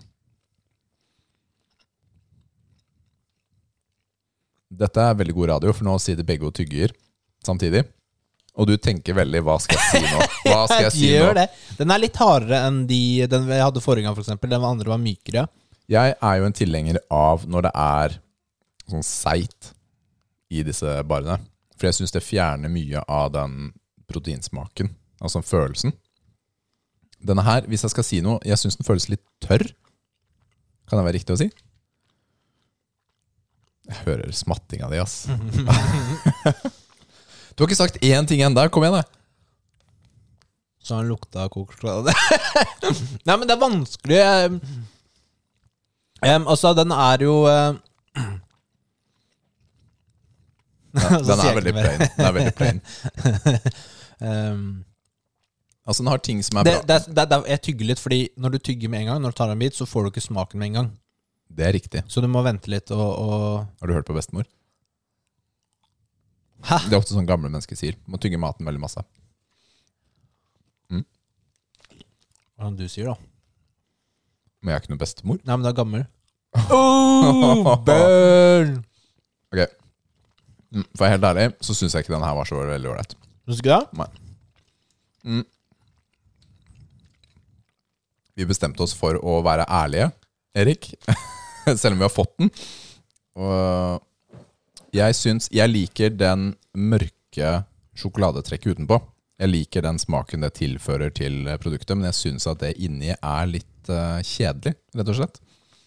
B: Dette er veldig god radio, for nå sitter begge og tygger samtidig. Og du tenker veldig 'hva skal jeg
A: [LAUGHS]
B: si nå'? Hva skal jeg si nå?
A: Gjør det. Den er litt hardere enn de Den jeg hadde forrige gang, for eksempel. Den andre var mykere.
B: Jeg er jo en tilhenger av når det er sånn seigt i disse barene. For jeg syns det fjerner mye av den proteinsmaken, altså følelsen. Denne her, hvis jeg skal si noe, jeg syns den føles litt tørr. Kan det være riktig å si? Jeg hører smattinga di,
A: [LAUGHS]
B: ass. du har ikke sagt én ting ennå. Kom igjen, da.
A: [LAUGHS] Så den lukta kokesjokolade. [LAUGHS] Nei, men det er vanskelig. ehm. Ehm, altså, den er jo ehm,
B: Den,
A: Så
B: den
A: sier
B: er
A: jeg
B: veldig
A: ikke mer.
B: plain. Den er veldig plain.
A: ehm,
B: Altså, den har ting som er
A: det,
B: bra.
A: det, er- det, er- Jeg tygger litt, fordi når du tygger med en gang, Når du tar en bit, så får du ikke smaken med en gang.
B: Det er riktig.
A: Så du må vente litt og, og
B: Har du hørt på bestemor?
A: Hæ?
B: Det er ofte sånn gamle mennesker sier. Må tygge maten veldig masse.
A: Hvordan du sier, da.
B: Men jeg er ikke noe bestemor.
A: Nei, men du er gammel. [LAUGHS] Oh, burn!
B: Ok Mm, For jeg er helt ærlig, så syns jeg ikke den her var så veldig ålreit.
A: Syns du ikke det?
B: Mm. Vi bestemte oss for å være ærlige, Erik. [LAUGHS] Selv om vi har fått den. Og jeg syns Jeg liker den mørke sjokoladetrekket utenpå. Jeg liker den smaken det tilfører til produktet, men jeg syns at det inni er litt eh, kjedelig, rett og slett.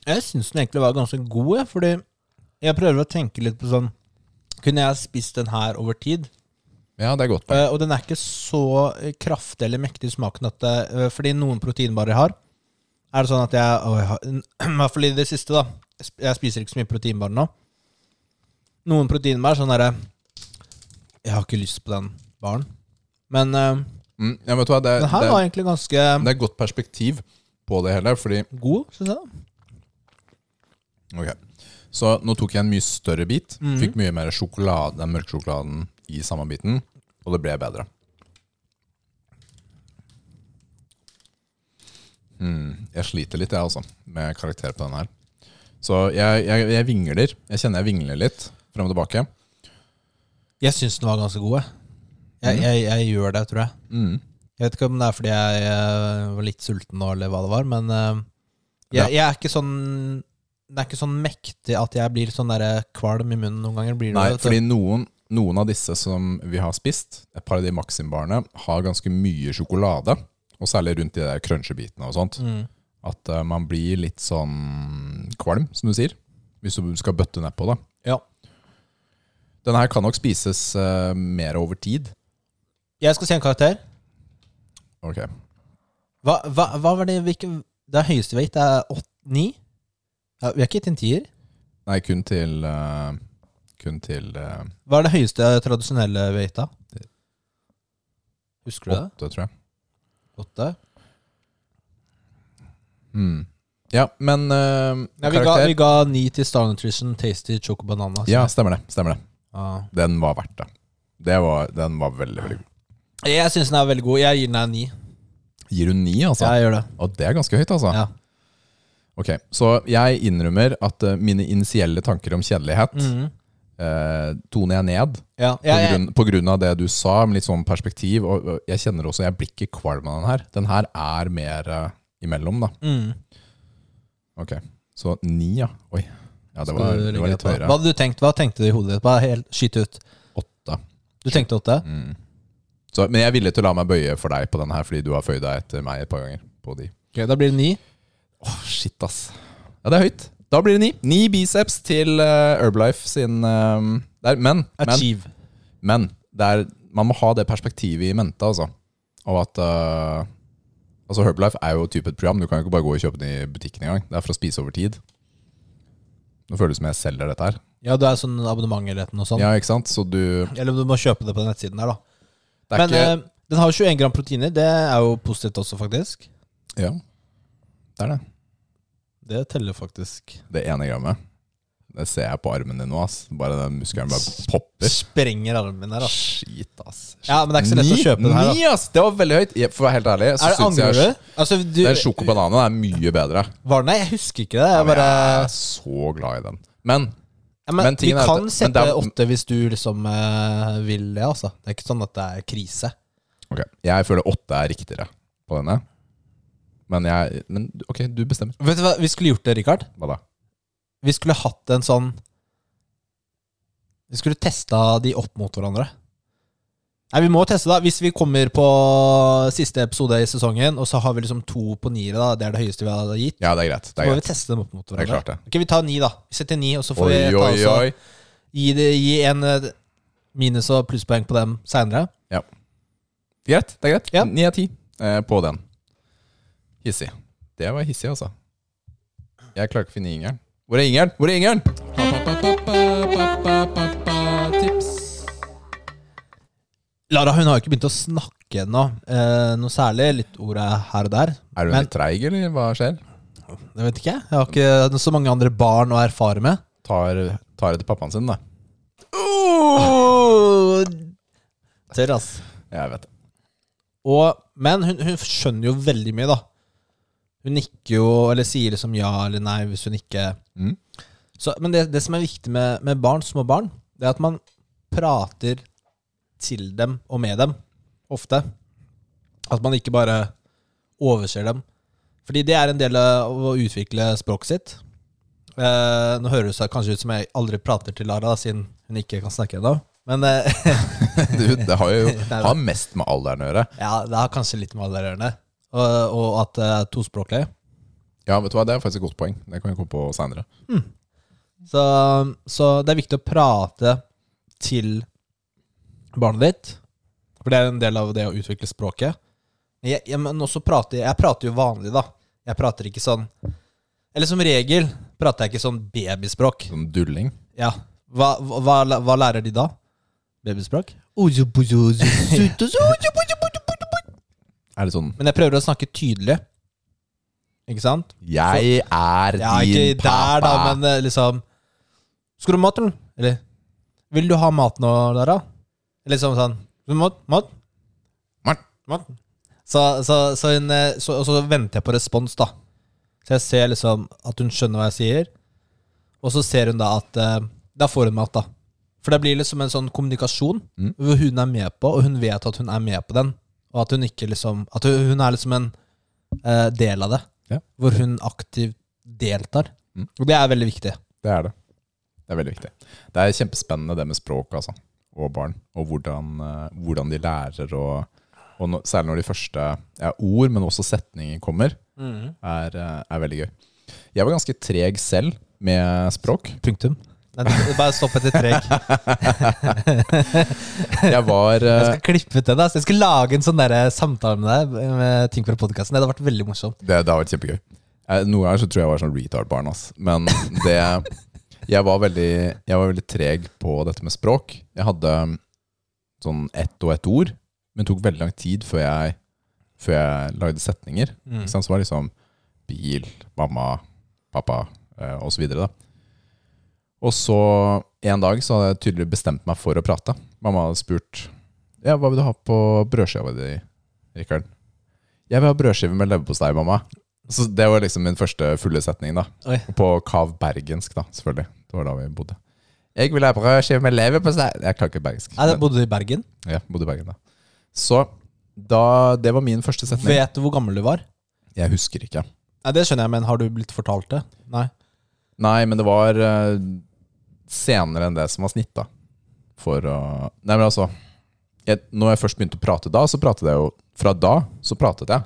A: Jeg syns den egentlig var ganske god, jeg, fordi jeg prøver å tenke litt på sånn Kunne jeg spist den her over tid?
B: Ja, det er godt.
A: Eh, og den er ikke så eh, kraftig eller mektig i smaken at det, eh, Fordi noen proteinbarer jeg har, er det sånn at jeg å, jeg har- [CLEARS THROAT] I hvert fall i det siste, da. Jeg sp- Jeg spiser ikke så mye proteinbarer nå. Noen proteinbarer er sånn derre Jeg har ikke lyst på den baren. Men eh,
B: Mm, ja, vet du hva, det,
A: den her
B: det,
A: var egentlig ganske
B: det er godt perspektiv på det hele, fordi
A: god, syns jeg.
B: ok. Så nå tok jeg en mye større bit,
A: Mhm.
B: fikk mye mer sjokolade, den mørke sjokoladen i samme biten, og det ble bedre. Mm, jeg sliter litt, jeg, altså, med karakter på den her. Så jeg, jeg, jeg vingler. Jeg kjenner jeg vingler litt frem og tilbake.
A: Jeg syns den var ganske god, jeg. Jeg, jeg, jeg gjør det, tror jeg.
B: Mm.
A: Jeg vet ikke om det er fordi jeg eh, var litt sulten nå, eller hva det var, men eh, jeg, jeg er ikke sånn Det er ikke sånn mektig at jeg blir sånn der kvalm i munnen noen ganger. Blir det,
B: Nei,
A: vet du.
B: fordi noen, noen av disse som vi har spist, et par av de Maxim-barene, har ganske mye sjokolade. Og særlig rundt de der crunchebitene og sånt.
A: mm.
B: At eh, man blir litt sånn kvalm, som du sier. Hvis du skal bøtte nedpå, da.
A: Ja.
B: Den her kan nok spises eh, mer over tid.
A: Jeg skal si en karakter.
B: Ok.
A: Hva, hva, hva var det hvilke, Det er høyeste vekt. Det er åtte, ni? Ja, vi har ikke gitt en tier.
B: Nei, kun til eh, Kun til eh,
A: Hva er det høyeste tradisjonelle vekta? Husker du det?
B: åtte, tror jeg.
A: Åtte?
B: Mm. Ja, men eh,
A: Ja, vi, ga, vi ga ni til Star Nutrition Tasty Choco Banana. så-
B: Ja, stemmer det. Stemmer det.
A: Ja.
B: Den var verdt det. det var, den var veldig, veldig god.
A: Jeg syns den er veldig god. Jeg gir den en ni.
B: Gir du ni, altså?
A: Jeg gjør det.
B: Og det er ganske høyt, altså.
A: Ja.
B: Ok, Så jeg innrømmer at eh, mine initielle tanker om kjedelighet
A: Mhm.
B: eh, toner jeg ned.
A: ja.
B: På,
A: Jeg, jeg,
B: grunn, på grunn av det du sa, med litt sånn perspektiv. Og, og jeg kjenner også jeg blir ikke kvalm av den her. Den her er mer eh, imellom, da.
A: mm.
B: Ok, Så ni, ja. Oi. Ja, det
A: Skal
B: var,
A: du
B: det
A: legge
B: var
A: deg
B: litt
A: på? Hva
B: høyere.
A: hadde du tenkt? Hva tenkte du i hodet ditt? Bare helt skyt ut.
B: Åtte.
A: Du tenkte åtte?
B: Mm. Så, men jeg er villig til å la meg bøye for deg på den her, fordi du har føyd deg etter meg et par ganger. på de.
A: Ok, da blir det ni.
B: Åh, shit, ass. Ja, det er høyt. Da blir det ni. Ni biceps til eh, Herbalife sin eh, der. Men, men,
A: Achieve.
B: men det er, man må ha det perspektivet i mente, altså. Og at eh, Altså, Herbalife er jo type et program. Du kan jo ikke bare gå og kjøpe den i butikken engang. Det er for å spise over tid. Nå føles det som jeg selger dette her.
A: Ja, du er sånn abonnement eller noe sånt.
B: Ja, ikke sant? Så du Det
A: Eller du må kjøpe det på nettsiden der, da.
B: er
A: Men
B: ikke
A: eh, den har jo 21 gram proteiner. Det er jo positivt også, faktisk.
B: Ja. Det er det.
A: Det teller faktisk.
B: Det ene grammet. Det ser jeg på armen din nå, ass. Bare den muskelen bare popper.
A: Sprenger armen her, da.
B: Skit, ass.
A: Ja, men det er ikke så lett å kjøpe den her, da.
B: Ni, ass! Det var veldig høyt. Jeg- For å være helt ærlig, så
A: Er det
B: syns
A: Angrer
B: jeg
A: du? Altså, du
B: den sjokobananen er mye bedre.
A: var det Nei, jeg husker ikke det. Jeg
B: Men
A: bare,
B: Jeg er så glad i den. Men
A: ja, men,
B: men
A: vi
B: tingen er at-
A: kan
B: men
A: sette
B: det er-
A: åtte hvis du liksom eh, vil det, altså. Det er ikke sånn at det er krise.
B: ok, jeg føler åtte er riktigere på denne. Men jeg Men ok, du bestemmer.
A: Vet du hva vi skulle gjort det, Rikard?
B: Hva da?
A: Vi skulle hatt en sånn Vi skulle testa de opp mot hverandre. Nei, vi må teste, da. Hvis vi kommer på siste episode i sesongen, og så har vi liksom to på niere, da. Det er det høyeste vi har gitt.
B: Ja, det er greit.
A: Så
B: Det er
A: må vi
B: greit.
A: teste dem opp mot
B: Det er
A: hverandre.
B: klart, det.
A: Ok, Vi tar ni, da. Vi setter ni, og så får
B: Oi,
A: vi ta
B: oi,
A: altså,
B: oi.
A: gi, det, gi en eh, minus- og plusspoeng på dem seinere.
B: Greit, det er
A: Ja.
B: greit. Ni av ti eh, på den. Hissig. Det var hissig, altså. Jeg klarer ikke å finne ingeren. Hvor er ingeren? Hvor er ingeren? Tips.
A: Lara hun har jo ikke begynt å snakke ennå, eh, noe særlig. Litt ord er her og der.
B: Er hun
A: Men-
B: litt treig, eller hva skjer?
A: Det vet ikke jeg. Jeg har ikke så mange andre barn å erfare med.
B: Tar, tar det til pappaen sin, da.
A: [LAUGHS] Tørr, ass.
B: Jeg vet det.
A: Og, men hun, hun skjønner jo veldig mye, da. Hun nikker jo, eller sier liksom ja eller nei hvis hun ikke
B: Mm.
A: så, Men det, det som er viktig med, med barn, små barn, det er at man prater til dem og med dem ofte. At man ikke bare overser dem. Fordi det er en del av å utvikle språket sitt. Eh, nå høres det kanskje ut som jeg aldri prater til Lara, da, siden hun ikke kan snakke ennå. Men eh, [LAUGHS]
B: Du, det har jo
A: Nei, nei.
B: har mest med alderen å gjøre.
A: Ja, det har kanskje litt med alder å gjøre. Og, og at det er tospråklig.
B: Ja, vet du hva, det er faktisk et godt poeng. Det kan jeg komme på seinere.
A: Så, så det er viktig å prate til barnet ditt. For det er en del av det å utvikle språket. Jeg, jeg, men også prater, jeg prater jo vanlig, da. Jeg prater ikke sånn Eller som regel prater jeg ikke sånn babyspråk.
B: Sånn dulling.
A: Ja. Hva, hva, hva lærer de da? Babyspråk? [LAUGHS]
B: Er det sånn
A: Men jeg prøver å snakke tydelig. Ikke sant?
B: Jeg er
A: Ja,
B: din
A: ikke
B: pappa.
A: der, da, men eh, liksom Skal du ha mat, eller? Eller Vil du ha mat nå, Lara? Liksom sånn «Vil du ha Mat? Mat?
B: Mat.
A: mat. Så, så, så hun, eh, så, og så venter jeg på respons, da. Så jeg ser liksom at hun skjønner hva jeg sier. Og så ser hun da at eh, Da får hun mat, da. For det blir liksom en sånn kommunikasjon
B: Mm.
A: hvor hun er med på, og hun vet at hun er med på den. Og at hun ikke liksom At hun, hun er liksom en eh, del av det.
B: Ja.
A: Hvor hun aktivt deltar.
B: Mm.
A: Og det er veldig viktig.
B: Det er det. Det er veldig viktig. Det er kjempespennende det med språk altså, og barn, og hvordan, eh, hvordan de lærer. Og, og nå- særlig når de første ja, ord, men også setninger kommer,
A: Mm.
B: er, eh, er veldig gøy. Jeg var ganske treg selv med språk.
A: Punktum. Nei, det- bare stopp etter
B: [LAUGHS]
A: treg.
B: Jeg
A: [LAUGHS]
B: var
A: Jeg
B: eh,
A: skal klippe ut det. da Så Jeg skal lage en sånn der samtale med deg eh, med ting fra podkasten. Det hadde vært veldig morsomt.
B: Det, det har vært kjempegøy. Eh, Noen ganger så tror jeg jeg var sånn retard-barn, ass. Men det jeg var, veldig, jeg var veldig treg på dette med språk. Jeg hadde mm, sånn ett og ett ord, men tok veldig lang tid før jeg, før jeg lagde setninger.
A: Mm.
B: Ikke sant? Så var det liksom bil, mamma, pappa eh, og så videre da. Og så en dag så hadde jeg tydelig bestemt meg for å prate. Mamma hadde spurt Ja, hva vil du ha på brødskiva di, Rikard? Jeg vil ha brødskive med leverpostei, mamma. Så det var liksom min første fulle setning, da.
A: Oi.
B: Og På kav bergensk, da, selvfølgelig. Det var da vi bodde. Jeg vil ha brødskive med leverpostei Jeg klarer ikke bergensk.
A: Nei, det Bodde du i Bergen?
B: men, ja, bodde i Bergen da. Så da, det var min første setning.
A: Vet du hvor gammel du var?
B: Jeg husker ikke.
A: Nei, Det skjønner jeg, men har du blitt fortalt det? Nei.
B: Nei, men det var eh, senere enn det som var snitt, da. For å Nei, men altså jeg, Når jeg først begynte å prate da, så pratet jeg jo Fra da så pratet jeg.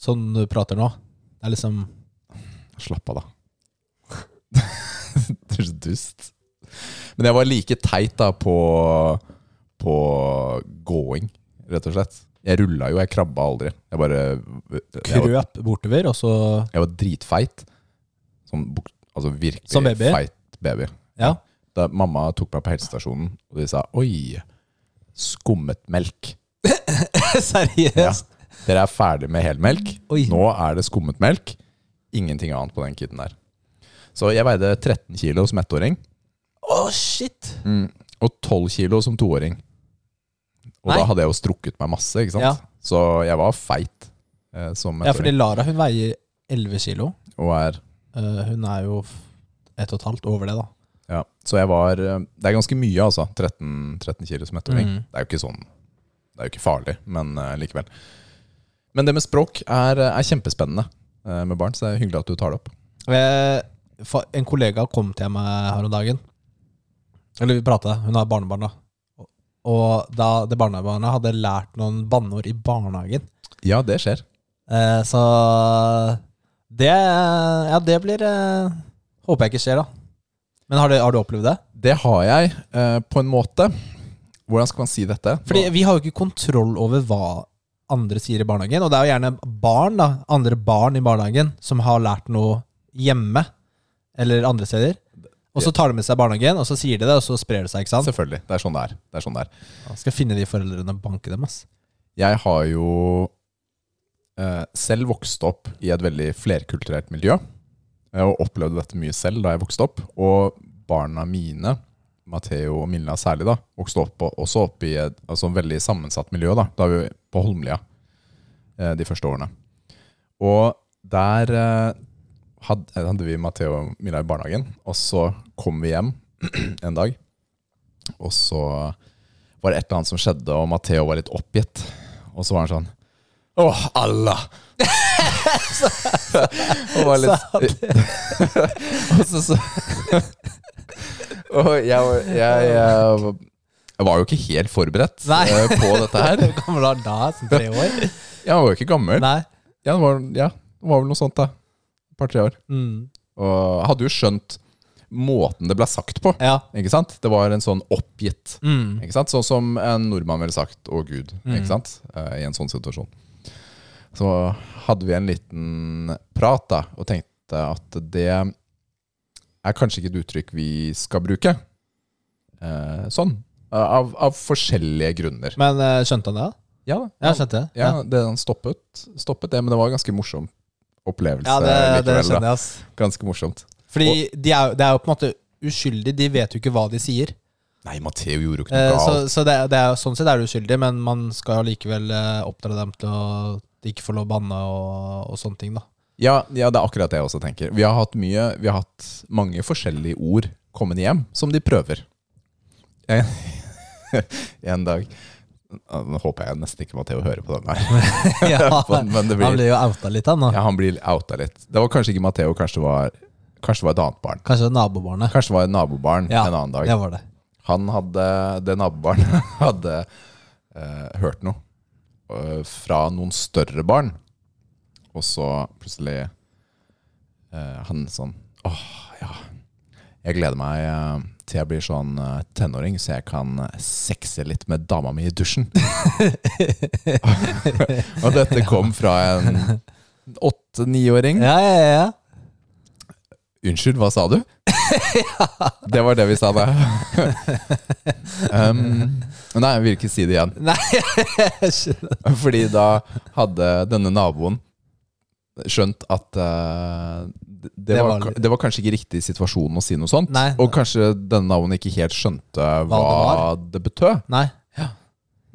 A: Sånn du prater nå? Det er liksom
B: Slapp av, da. [LAUGHS] du er så dust. Men jeg var like teit da på, på gåing, rett og slett. Jeg rulla jo, jeg krabba aldri. Jeg bare jeg var,
A: krøp bortover, og så
B: jeg var dritfeit. Sånn bok- altså virkelig
A: Som baby?
B: feit baby.
A: Ja.
B: da mamma tok meg på helsestasjonen, og de sa Oi, skummet melk. Ja.
A: [LAUGHS] Seriøst?
B: Dere er ferdig med helmelk.
A: Oi.
B: Nå er det skummet melk. Ingenting annet på den kiden der. Så jeg veide 13 kilo som ettåring,
A: Å, shit!
B: og 12 kilo som toåring. Og
A: Nei.
B: da hadde jeg jo strukket meg masse, ikke sant?
A: Ja.
B: Så jeg var feit eh, som
A: Ja, fordi
B: ettåring.
A: Lara hun veier 11 kilo.
B: og er,
A: Eh, hun er jo f- ett og et halvt over det, da.
B: ja. Så jeg var eh, Det er ganske mye, altså. 13, 13 kilo som ettåring.
A: Mm.
B: Det er jo ikke sånn Det er jo ikke farlig, men eh, likevel. Men det med språk er, er kjempespennende eh, med barn, så det er hyggelig at du tar det opp.
A: Eh, fa- En kollega kom til meg her om dagen. Eller vi prata, hun har barnebarn, da. Og- Og da det barnebarnet hadde lært noen banneord i barnehagen.
B: Ja, det skjer.
A: Eh, så det Ja, det blir eh, Håper jeg ikke skjer, da. Men har du, har du opplevd det?
B: Det har jeg eh, på en måte. Hvordan skal man si dette?
A: Fordi vi har jo ikke kontroll over hva andre sier i barnehagen. Og det er jo gjerne barn, da. Andre barn i barnehagen som har lært noe hjemme eller andre steder. Og så tar de med seg barnehagen, og så sier de det, og så sprer det seg, ikke sant?
B: Selvfølgelig. Det er sånn det er. Det er sånn det er.
A: Jeg skal finne de foreldrene og banke dem, ass.
B: Jeg har jo eh, selv vokst opp i et veldig flerkulturelt miljø. eh, Og opplevde dette mye selv da jeg vokste opp. Og barna mine, Matheo og Milla særlig, da, vokste opp, og- også opp i et altså, veldig sammensatt miljø. Da, da er vi jo på Holmlia eh, de første årene. Og der eh, hadde, hadde vi Matheo og Milla i barnehagen. Og så kom vi hjem [CLEARS THROAT] en dag, og så var det et eller annet som skjedde, og Matheo var litt oppgitt. Og så var han sånn Åh, Allah! [LAUGHS] og var litt [LAUGHS] Og så, så [LAUGHS] Og jeg, var- jeg, jeg, jeg var jo ikke helt forberedt
A: Nei.
B: eh, på dette
A: [LAUGHS]
B: her.
A: Hvor gammel var han da? Sånn tre år?
B: Jeg var jo ikke gammel.
A: Nei.
B: Ja, det var, ja, det var vel noe sånt, da. Et par-tre år.
A: Mm.
B: Og jeg hadde jo skjønt måten det ble sagt på.
A: Ja.
B: Ikke sant? Det var en sånn oppgitt.
A: Mm.
B: Ikke sant? Sånn som en nordmann ville sagt 'Å, Gud', ikke sant? Eh, i en sånn situasjon. Så hadde vi en liten prat da, og tenkte at det er kanskje ikke et uttrykk vi skal bruke. Eh, sånn. Av, av forskjellige grunner.
A: Men eh, skjønte han det? da?
B: Ja da.
A: Ja, skjønte det.
B: Ja, det, den stoppet, stoppet det, men det var en ganske morsom opplevelse
A: ja det, det
B: likevel.
A: skjønner
B: Da.
A: jeg, ass.
B: Ganske morsomt.
A: Fordi de er, jo- det er jo på en måte uskyldig. De vet jo ikke hva de sier.
B: Nei, Matheo gjorde jo ikke
A: Eh,
B: noe
A: så
B: galt.
A: så det, er- det er, jo- sånn sett er det uskyldig, men man skal jo likevel eh, oppdra dem til å de ikke får lov å banne og, og sånne ting,
B: [LAUGHS]
A: da.
B: Ja, ja, det er akkurat det jeg også tenker. Vi har hatt, mye, vi har hatt mange forskjellige ord kommende hjem som de prøver. [LAUGHS] En, en dag Ja, Nå håper jeg nesten ikke Matheo hører på den her. [LAUGHS]
A: ja,
B: Men- men det blir-
A: Han blir jo outa litt, han nå.
B: Ja, han blir outa litt. Det var kanskje ikke Matheo, kanskje, det var- kanskje det var et annet barn.
A: Kanskje nabobarnet.
B: Kanskje det var et nabobarn
A: Ja,
B: en annen dag.
A: det var det.
B: Han hadde, det nabobarnet [LAUGHS] hadde eh, hørt noe eh, fra noen større barn. Og så plutselig eh, han sånn Åh, ja. Jeg gleder meg eh, til jeg blir sånn eh, tenåring, så jeg kan eh, sexe litt med dama mi i dusjen. [LAUGHS] og dette kom fra en åtte-niåring.
A: Ja, ja, ja. ja.
B: Unnskyld, hva
A: [LAUGHS]
B: sa du? Det var det vi sa da. um, nei, jeg vil ikke si det igjen.
A: Nei, [LAUGHS] jeg skjønner.
B: Fordi da hadde denne naboen skjønt at eh, det, det,
A: Det
B: var,
A: var-
B: ka- det var kanskje ikke riktig situasjon å si noe sånt.
A: Nei.
B: Og kanskje denne naboen ikke helt skjønte hva, det, betød.
A: Nei.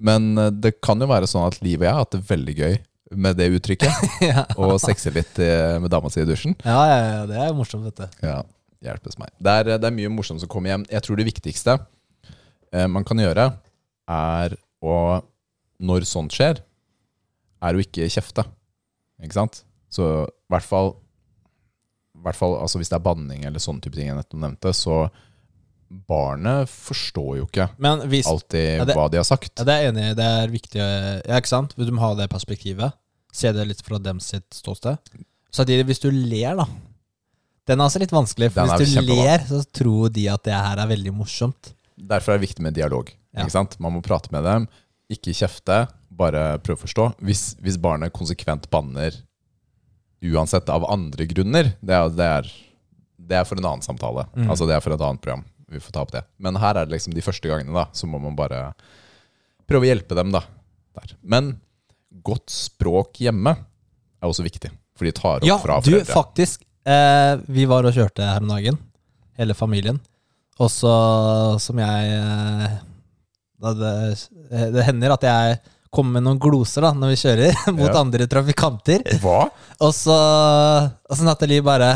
B: Men eh, det kan jo være sånn at Liv og jeg har hatt det veldig gøy med det
A: [LAUGHS]
B: uttrykket.
A: [LAUGHS] Ja.
B: Og sexer litt eh, med dama si i dusjen.
A: Ja, ja, ja, det er morsomt, vet du.
B: Ja, hjelpes meg. Det er, det er mye morsomt som kommer hjem. Jeg tror det viktigste eh, man kan gjøre, er å Når sånt skjer, er å ikke kjefte. Ikke sant? Så i hvert fall, i hvert fall altså hvis det er banning eller sånne type ting jeg nettopp nevnte, så Barnet forstår jo ikke
A: Men hvis
B: alltid
A: Ja, det-
B: hva de har sagt.
A: ja, Det er jeg enig i. Det er viktig. eh, Ja, ikke sant? Du må ha det perspektivet. Se det litt fra dem sitt ståsted. Samtidig, hvis du ler, da Den er altså litt vanskelig, for
B: Den er
A: hvis du
B: kjempevanskelig.
A: ler, så tror de at det her er veldig morsomt.
B: Derfor er det viktig med dialog.
A: Ja.
B: Ikke sant? Man må prate med dem, ikke kjefte, bare prøve å forstå. Hvis, hvis barnet konsekvent banner uansett av andre grunner, det er, det er, det er for en annen samtale.
A: Mm.
B: Altså Det er for et annet program. Vi får ta opp det. Men her er det liksom de første gangene, da. Så må man bare prøve å hjelpe dem, da. Der. Men godt språk hjemme er også viktig. For de tar opp
A: Ja,
B: fra
A: du,
B: foreldre.
A: faktisk. Eh, vi var og kjørte her om dagen, hele familien. Og så som jeg eh, da det, eh, det hender at jeg kommer med noen gloser da, når vi kjører [LAUGHS] mot
B: Ja.
A: andre trafikanter.
B: Hva?
A: Og så, og så Nathalie bare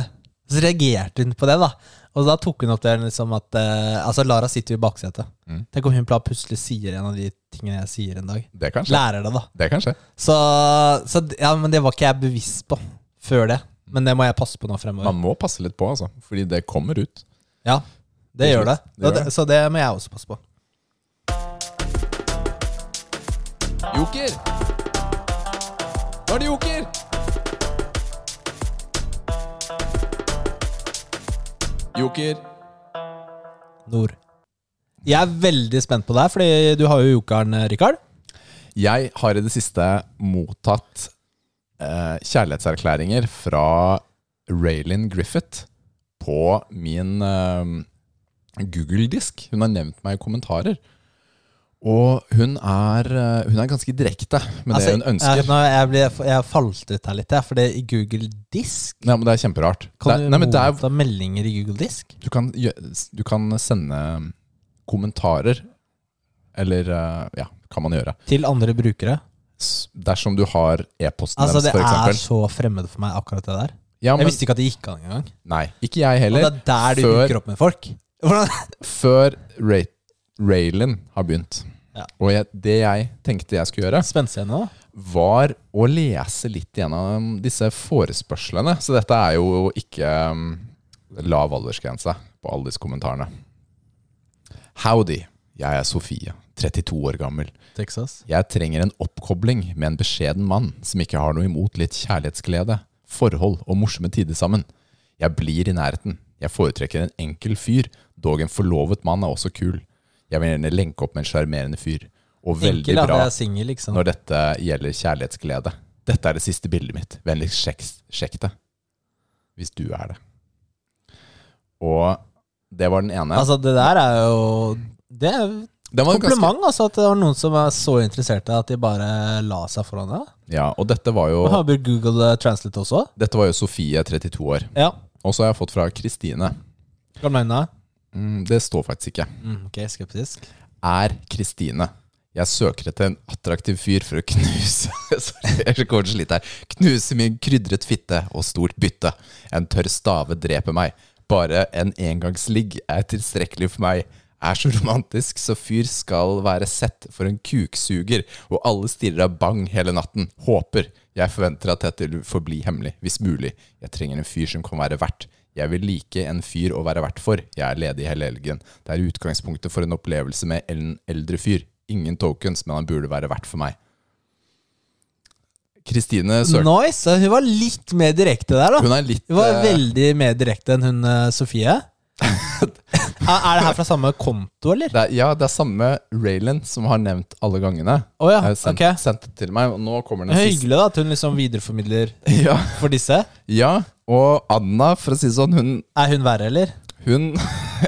A: Så reagerte hun på det, da. Og da tok hun opp det liksom at eh, Altså, Lara sitter jo i baksetet.
B: Mm.
A: Tenk om hun pla- plutselig sier en av de tingene jeg sier en dag.
B: Det kan skje.
A: Lærer det, da.
B: Det kan skje.
A: Så, så d- ja, men det var ikke jeg bevisst på før det. Men det må jeg passe på nå fremover.
B: Man må passe litt på, altså. Fordi det kommer ut.
A: Ja, det gjør det.
B: Det gjør
A: Og det.
B: det.
A: Så det må jeg også passe på.
B: Joker! Nå er det joker! Joker.
A: Nord. Jeg er veldig spent på det her, fordi du har jo jokeren, eh, Rikard.
B: Jeg har i det siste mottatt eh, kjærlighetserklæringer fra Raylin Griffith på min eh, Google-disk. Hun har nevnt meg i kommentarer. Og hun er, eh, hun er ganske direkte med
A: Altså,
B: det hun ønsker.
A: Jeg, nå, jeg, ble, jeg falt ut her litt, jeg, for det i Google Disk
B: Nei, men Det er kjemperart.
A: Kan du
B: det, er- nei, men det er,
A: motta meldinger i Google Disk?
B: du kan, gjø- du kan sende kommentarer, eller eh, ja, kan man gjøre,
A: Til andre brukere?
B: S- dersom du har e-posten
A: Altså,
B: deres,
A: det
B: for
A: er
B: eksempel.
A: så fremmed for meg, akkurat det der.
B: Ja,
A: Jeg
B: men,
A: visste ikke at det gikk an engang.
B: nei, ikke jeg
A: Og det
B: heller.
A: er der du
B: før-
A: hooker opp med folk. [LAUGHS] Hvordan?
B: Før Ra Raylin har begynt.
A: Ja.
B: Og jeg, det jeg tenkte jeg skulle gjøre,
A: Spennscene, da?
B: var å lese litt gjennom disse forespørslene. Så dette er jo ikke um, lav aldersgrense på alle disse kommentarene. Howdy, jeg er Sofie, 32 år gammel.
A: Texas.
B: Jeg trenger en oppkobling med en beskjeden mann som ikke har noe imot litt kjærlighetsglede, forhold og morsomme tider sammen. Jeg blir i nærheten. Jeg foretrekker en enkel fyr, dog en forlovet mann er også kul. Jeg vil gjerne lenke opp med en sjarmerende fyr. Og veldig
A: Enkel, da.
B: bra
A: Jeg er singel, liksom.
B: når dette gjelder kjærlighetsglede. Dette er det siste bildet mitt. Vennligst sjekk, sjekk det. Hvis du er det. Og det var den ene.
A: Altså, det der er jo Det er
B: den var ganske-
A: kompliment, altså, at det var noen som er så interesserte at de bare la seg foran deg.
B: Ja, og dette var
A: Og
B: jo,
A: har brukt Google eh, Translate også.
B: dette var jo Sofie, 32 år.
A: Ja.
B: Og så har jeg fått fra Kristine.
A: Gamle øyne.
B: Mm, det står faktisk ikke.
A: Mm, ok, skeptisk.
B: Er Kristine. Jeg søker etter en attraktiv fyr for å knuse [LAUGHS] Sorry, jeg er så kort slitt her. Knuse min krydret fitte og stort bytte. En tørr stave dreper meg. Bare en engangsligg er tilstrekkelig for meg. er så romantisk, så fyr skal være sett for en kuksuger, og alle stirrer av bang hele natten. Håper. Jeg forventer at dette vil forbli hemmelig, hvis mulig. Jeg trenger en fyr som kan være vert. Jeg vil like en fyr å være vert for. Jeg er ledig hele helgen. Det er utgangspunktet for en opplevelse med en eldre fyr. Ingen tokens, men han burde være vert for meg. Kristine Søk...
A: Nice! så Hun var litt mer direkte der, da.
B: Hun er litt
A: Hun var
B: eh,
A: veldig mer direkte enn hun eh,
B: [LAUGHS]
A: Sofie. Er- er det her fra samme konto, eller?
B: det er, Ja, det er samme Raylan som har nevnt alle gangene.
A: Å ja,
B: Jeg har sendt,
A: ok.
B: sendt det til meg, og nå kommer den siste. [LAUGHS]
A: Hyggelig da at hun liksom videreformidler
B: Ja,
A: for disse.
B: ja, og Anna, for å si det sånn, hun
A: Er hun verre, eller?
B: Hun,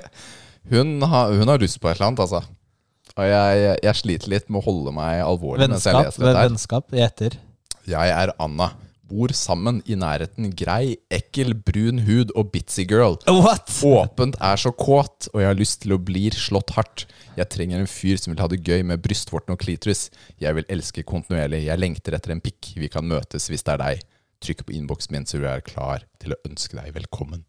B: [LAUGHS] hun, har, hun har lyst på et eller annet, altså. Og jeg, jeg sliter litt med å holde meg alvorlig mens jeg
A: Vennskap,
B: leser dette her.
A: vennskap i etter.
B: Jeg er Anna. Bor sammen i nærheten grei, ekkel, brun hud og bitsy girl.
A: What?
B: Åpent er så kåt, og jeg har lyst til å bli slått hardt. Jeg trenger en fyr som vil ha det gøy med brystvorten og klitoris. Jeg vil elske kontinuerlig. Jeg lengter etter en pikk. Vi kan møtes hvis det er deg. Trykk på innboksen min, så du er klar til å ønske deg velkommen.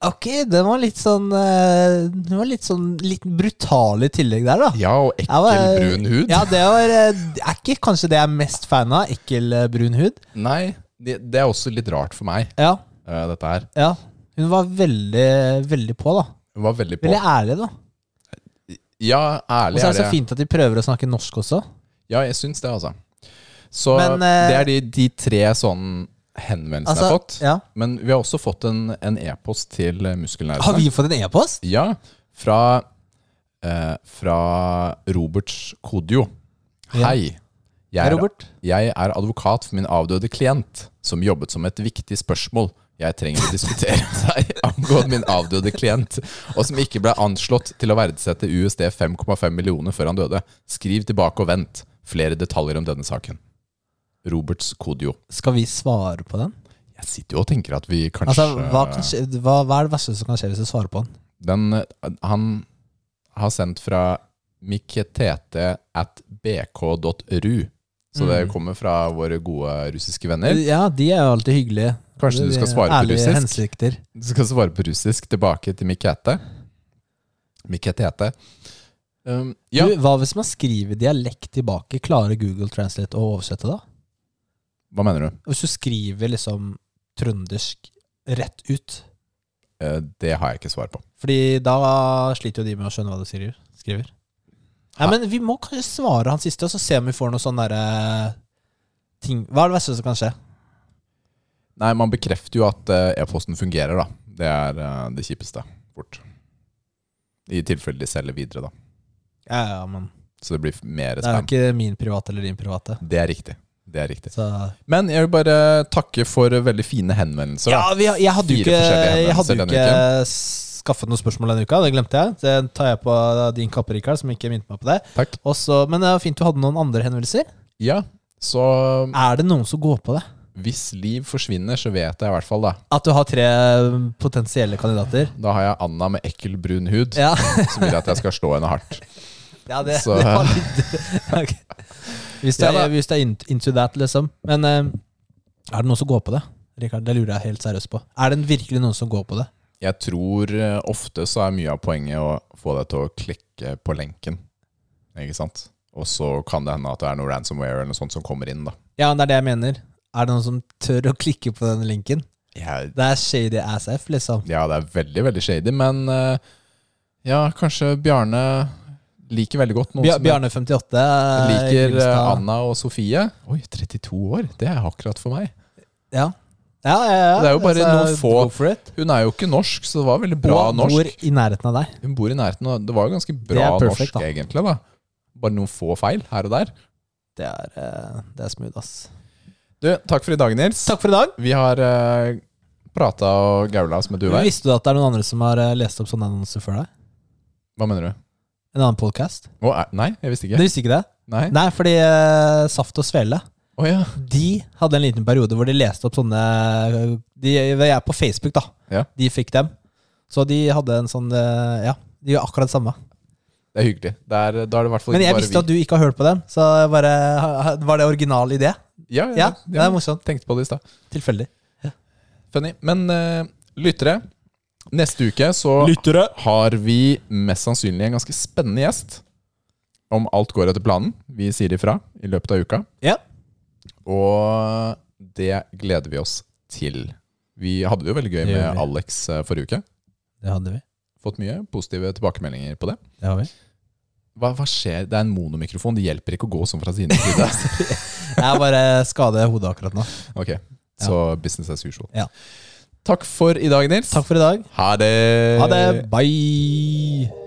A: Ok, den var litt sånn eh, Den var litt sånn litt brutal i tillegg der, da.
B: Ja, og
A: Jeg
B: ekkel,
A: var-
B: brun hud.
A: Ja, det var eh, det er ikke kanskje det jeg er mest fan av. Ekkel eh, brun hud.
B: Nei, det, det er også litt rart for meg,
A: Ja,
B: eh, dette her.
A: ja. Hun var veldig, veldig på, da.
B: Hun var veldig på.
A: Veldig ærlig, da.
B: Ja,
A: Og
B: ærlig
A: så er det
B: er
A: så
B: det.
A: fint at de prøver å snakke norsk også.
B: Ja, jeg syns det, altså. Så
A: Men, eh,
B: det er de, de tre sånn henvendelsene jeg har fått.
A: Altså, ja.
B: Men vi har også fått en en e-post til eh,
A: Har
B: muskelnerdene.
A: vi fått en e-post?
B: Ja, fra, eh, fra Roberts Kodjo.
A: Ja.
B: Hei. Jeg
A: Hei,
B: er,
A: Robert.
B: jeg er advokat for min avdøde klient, som jobbet som et viktig spørsmål jeg trenger å diskutere med deg angående min avdøde klient, og som ikke ble anslått til å verdsette USD 5,5 millioner før han døde. Skriv tilbake og vent. Flere detaljer om denne saken. Roberts Kodjo.
A: Skal vi svare på den?
B: Jeg sitter jo og tenker at vi kanskje
A: Altså, hva, kan skje, hva, hva er det verste som kan skje hvis du svarer på den?
B: Den eh, han har sendt fra miketete at bk.ru. Så det kommer fra våre gode russiske venner.
A: Mm. Ja, de er jo alltid hyggelige.
B: Kanskje du
A: De
B: skal
A: er
B: svare på
A: ærlige
B: russisk?
A: hensikter.
B: Du skal svare på russisk tilbake til Mikete. Miketete. Um, ja,
A: Du, hva hvis man skriver dialekt tilbake? Klarer Google Translate å oversette da?
B: hva mener du?
A: Hvis du skriver liksom trøndersk rett ut?
B: Eh, det har jeg ikke svar på.
A: Fordi da sliter jo de med å skjønne hva du skriver. skriver. Nei, men vi må kanskje svare han siste, og så se om vi får noe sånn derre ting Hva er det verste som kan skje?
B: Nei, man bekrefter jo at eh, e-posten fungerer, da. Det er eh, det kjipeste. Fort. I tilfelle de selger videre, da.
A: Ja, ja, men
B: Så det blir f- mer
A: Det er jo
B: spam. Det
A: ikke min private eller din private.
B: er, riktig. Det er riktig.
A: Så.
B: Men jeg vil bare takke for veldig fine henvendelser.
A: Ja,
B: da.
A: vi, har- jeg hadde jo
B: Fire
A: ikke,
B: forskjellige
A: jeg hadde jo
B: henvendelser denne
A: ikke skaffet noe spørsmål denne uka. Det glemte jeg. Det tar jeg på din kappe, Rikard, som ikke minte meg på det.
B: Takk.
A: Og så- men det var fint du hadde noen andre henvendelser.
B: Ja, så um,
A: Er det noen som går på det?
B: hvis liv forsvinner, så vet jeg i hvert fall, da.
A: At du har tre eh, potensielle kandidater?
B: Da har jeg Anna med ekkel, brun hud,
A: Ja, [LAUGHS]
B: som vil at jeg skal slå henne hardt.
A: ja det,
B: Så-
A: det var litt [LAUGHS] Ok. Hvis du er,
B: Ja da.
A: hvis du er in- into that, liksom. Men eh, er det noen som går på det? Rikard, det lurer jeg helt seriøst på. Er det virkelig noen som går på det?
B: Jeg tror eh, ofte så er mye av poenget å få deg til å klikke på lenken. Ikke sant? Og så kan det hende at det er noe ransomware eller noe sånt som kommer inn. da.
A: Ja, det er det jeg mener. Er det noen som tør å klikke på den linken?
B: Jeg-
A: Det er shady as f, liksom.
B: Ja, det er veldig, veldig shady, men eh, ja, kanskje Bjarne liker veldig godt noen
A: Bjar-
B: som
A: Bjarne58
B: liker eh, Anna og Sofie. Oi, 32 år! Det er akkurat for meg.
A: Ja. Ja, ja, ja. Altså,
B: Det er jo bare noen få-
A: go for it.
B: Hun er jo ikke norsk, så det var veldig bra
A: Og
B: norsk.
A: bor i nærheten av deg.
B: Hun bor i nærheten, og det var jo ganske
A: Det
B: bra
A: er perfekt,
B: norsk,
A: da.
B: egentlig. da. Bare noen få feil her og der.
A: Det er, eh, det er smooth, ass.
B: Du, takk for i dag, Nils.
A: Takk for i dag.
B: Vi har uh, prata og gaula oss med duvær.
A: Visste du at det er noen andre som har eh, lest opp sånne annonser før deg?
B: Hva mener du?
A: En annen podkast?
B: Å, er, nei, jeg visste ikke.
A: Du visste ikke det?
B: Nei?
A: Nei, fordi eh, Saft og Svele
B: Å ja.
A: De hadde en liten periode hvor de leste opp sånne De de er på Facebook, da.
B: Ja.
A: De fikk dem. Så de hadde en sånn eh, Ja, de gjør akkurat det samme.
B: Det er hyggelig. Det er, da er det i hvert fall
A: Men
B: ikke
A: jeg
B: bare
A: visste at du ikke har hørt på dem, så jeg bare var det original idé?
B: Ja, ja,
A: Ja, det er morsomt.
B: Tenkte på det i stad.
A: Tilfeldig.
B: Funny. Men eh, lyttere, Neste uke så
A: Lyttere!
B: har vi mest sannsynlig en ganske spennende gjest. Om alt går etter planen. Vi sier ifra i løpet av uka.
A: Ja.
B: Og det gleder vi oss til. Vi hadde det jo veldig gøy
A: Det gjør
B: med
A: vi.
B: Alex eh, forrige uke.
A: Det hadde vi.
B: Fått mye positive tilbakemeldinger på det.
A: Det har vi.
B: Hva, hva skjer? Det er en monomikrofon. Det hjelper ikke å gå sånn fra siden til [LAUGHS] side.
A: Jeg bare skader hodet akkurat nå.
B: Ok, Så business as usual.
A: Ja.
B: Takk for i dag, Nils.
A: Takk for i dag.
B: Ha det.
A: Ha det. Bye.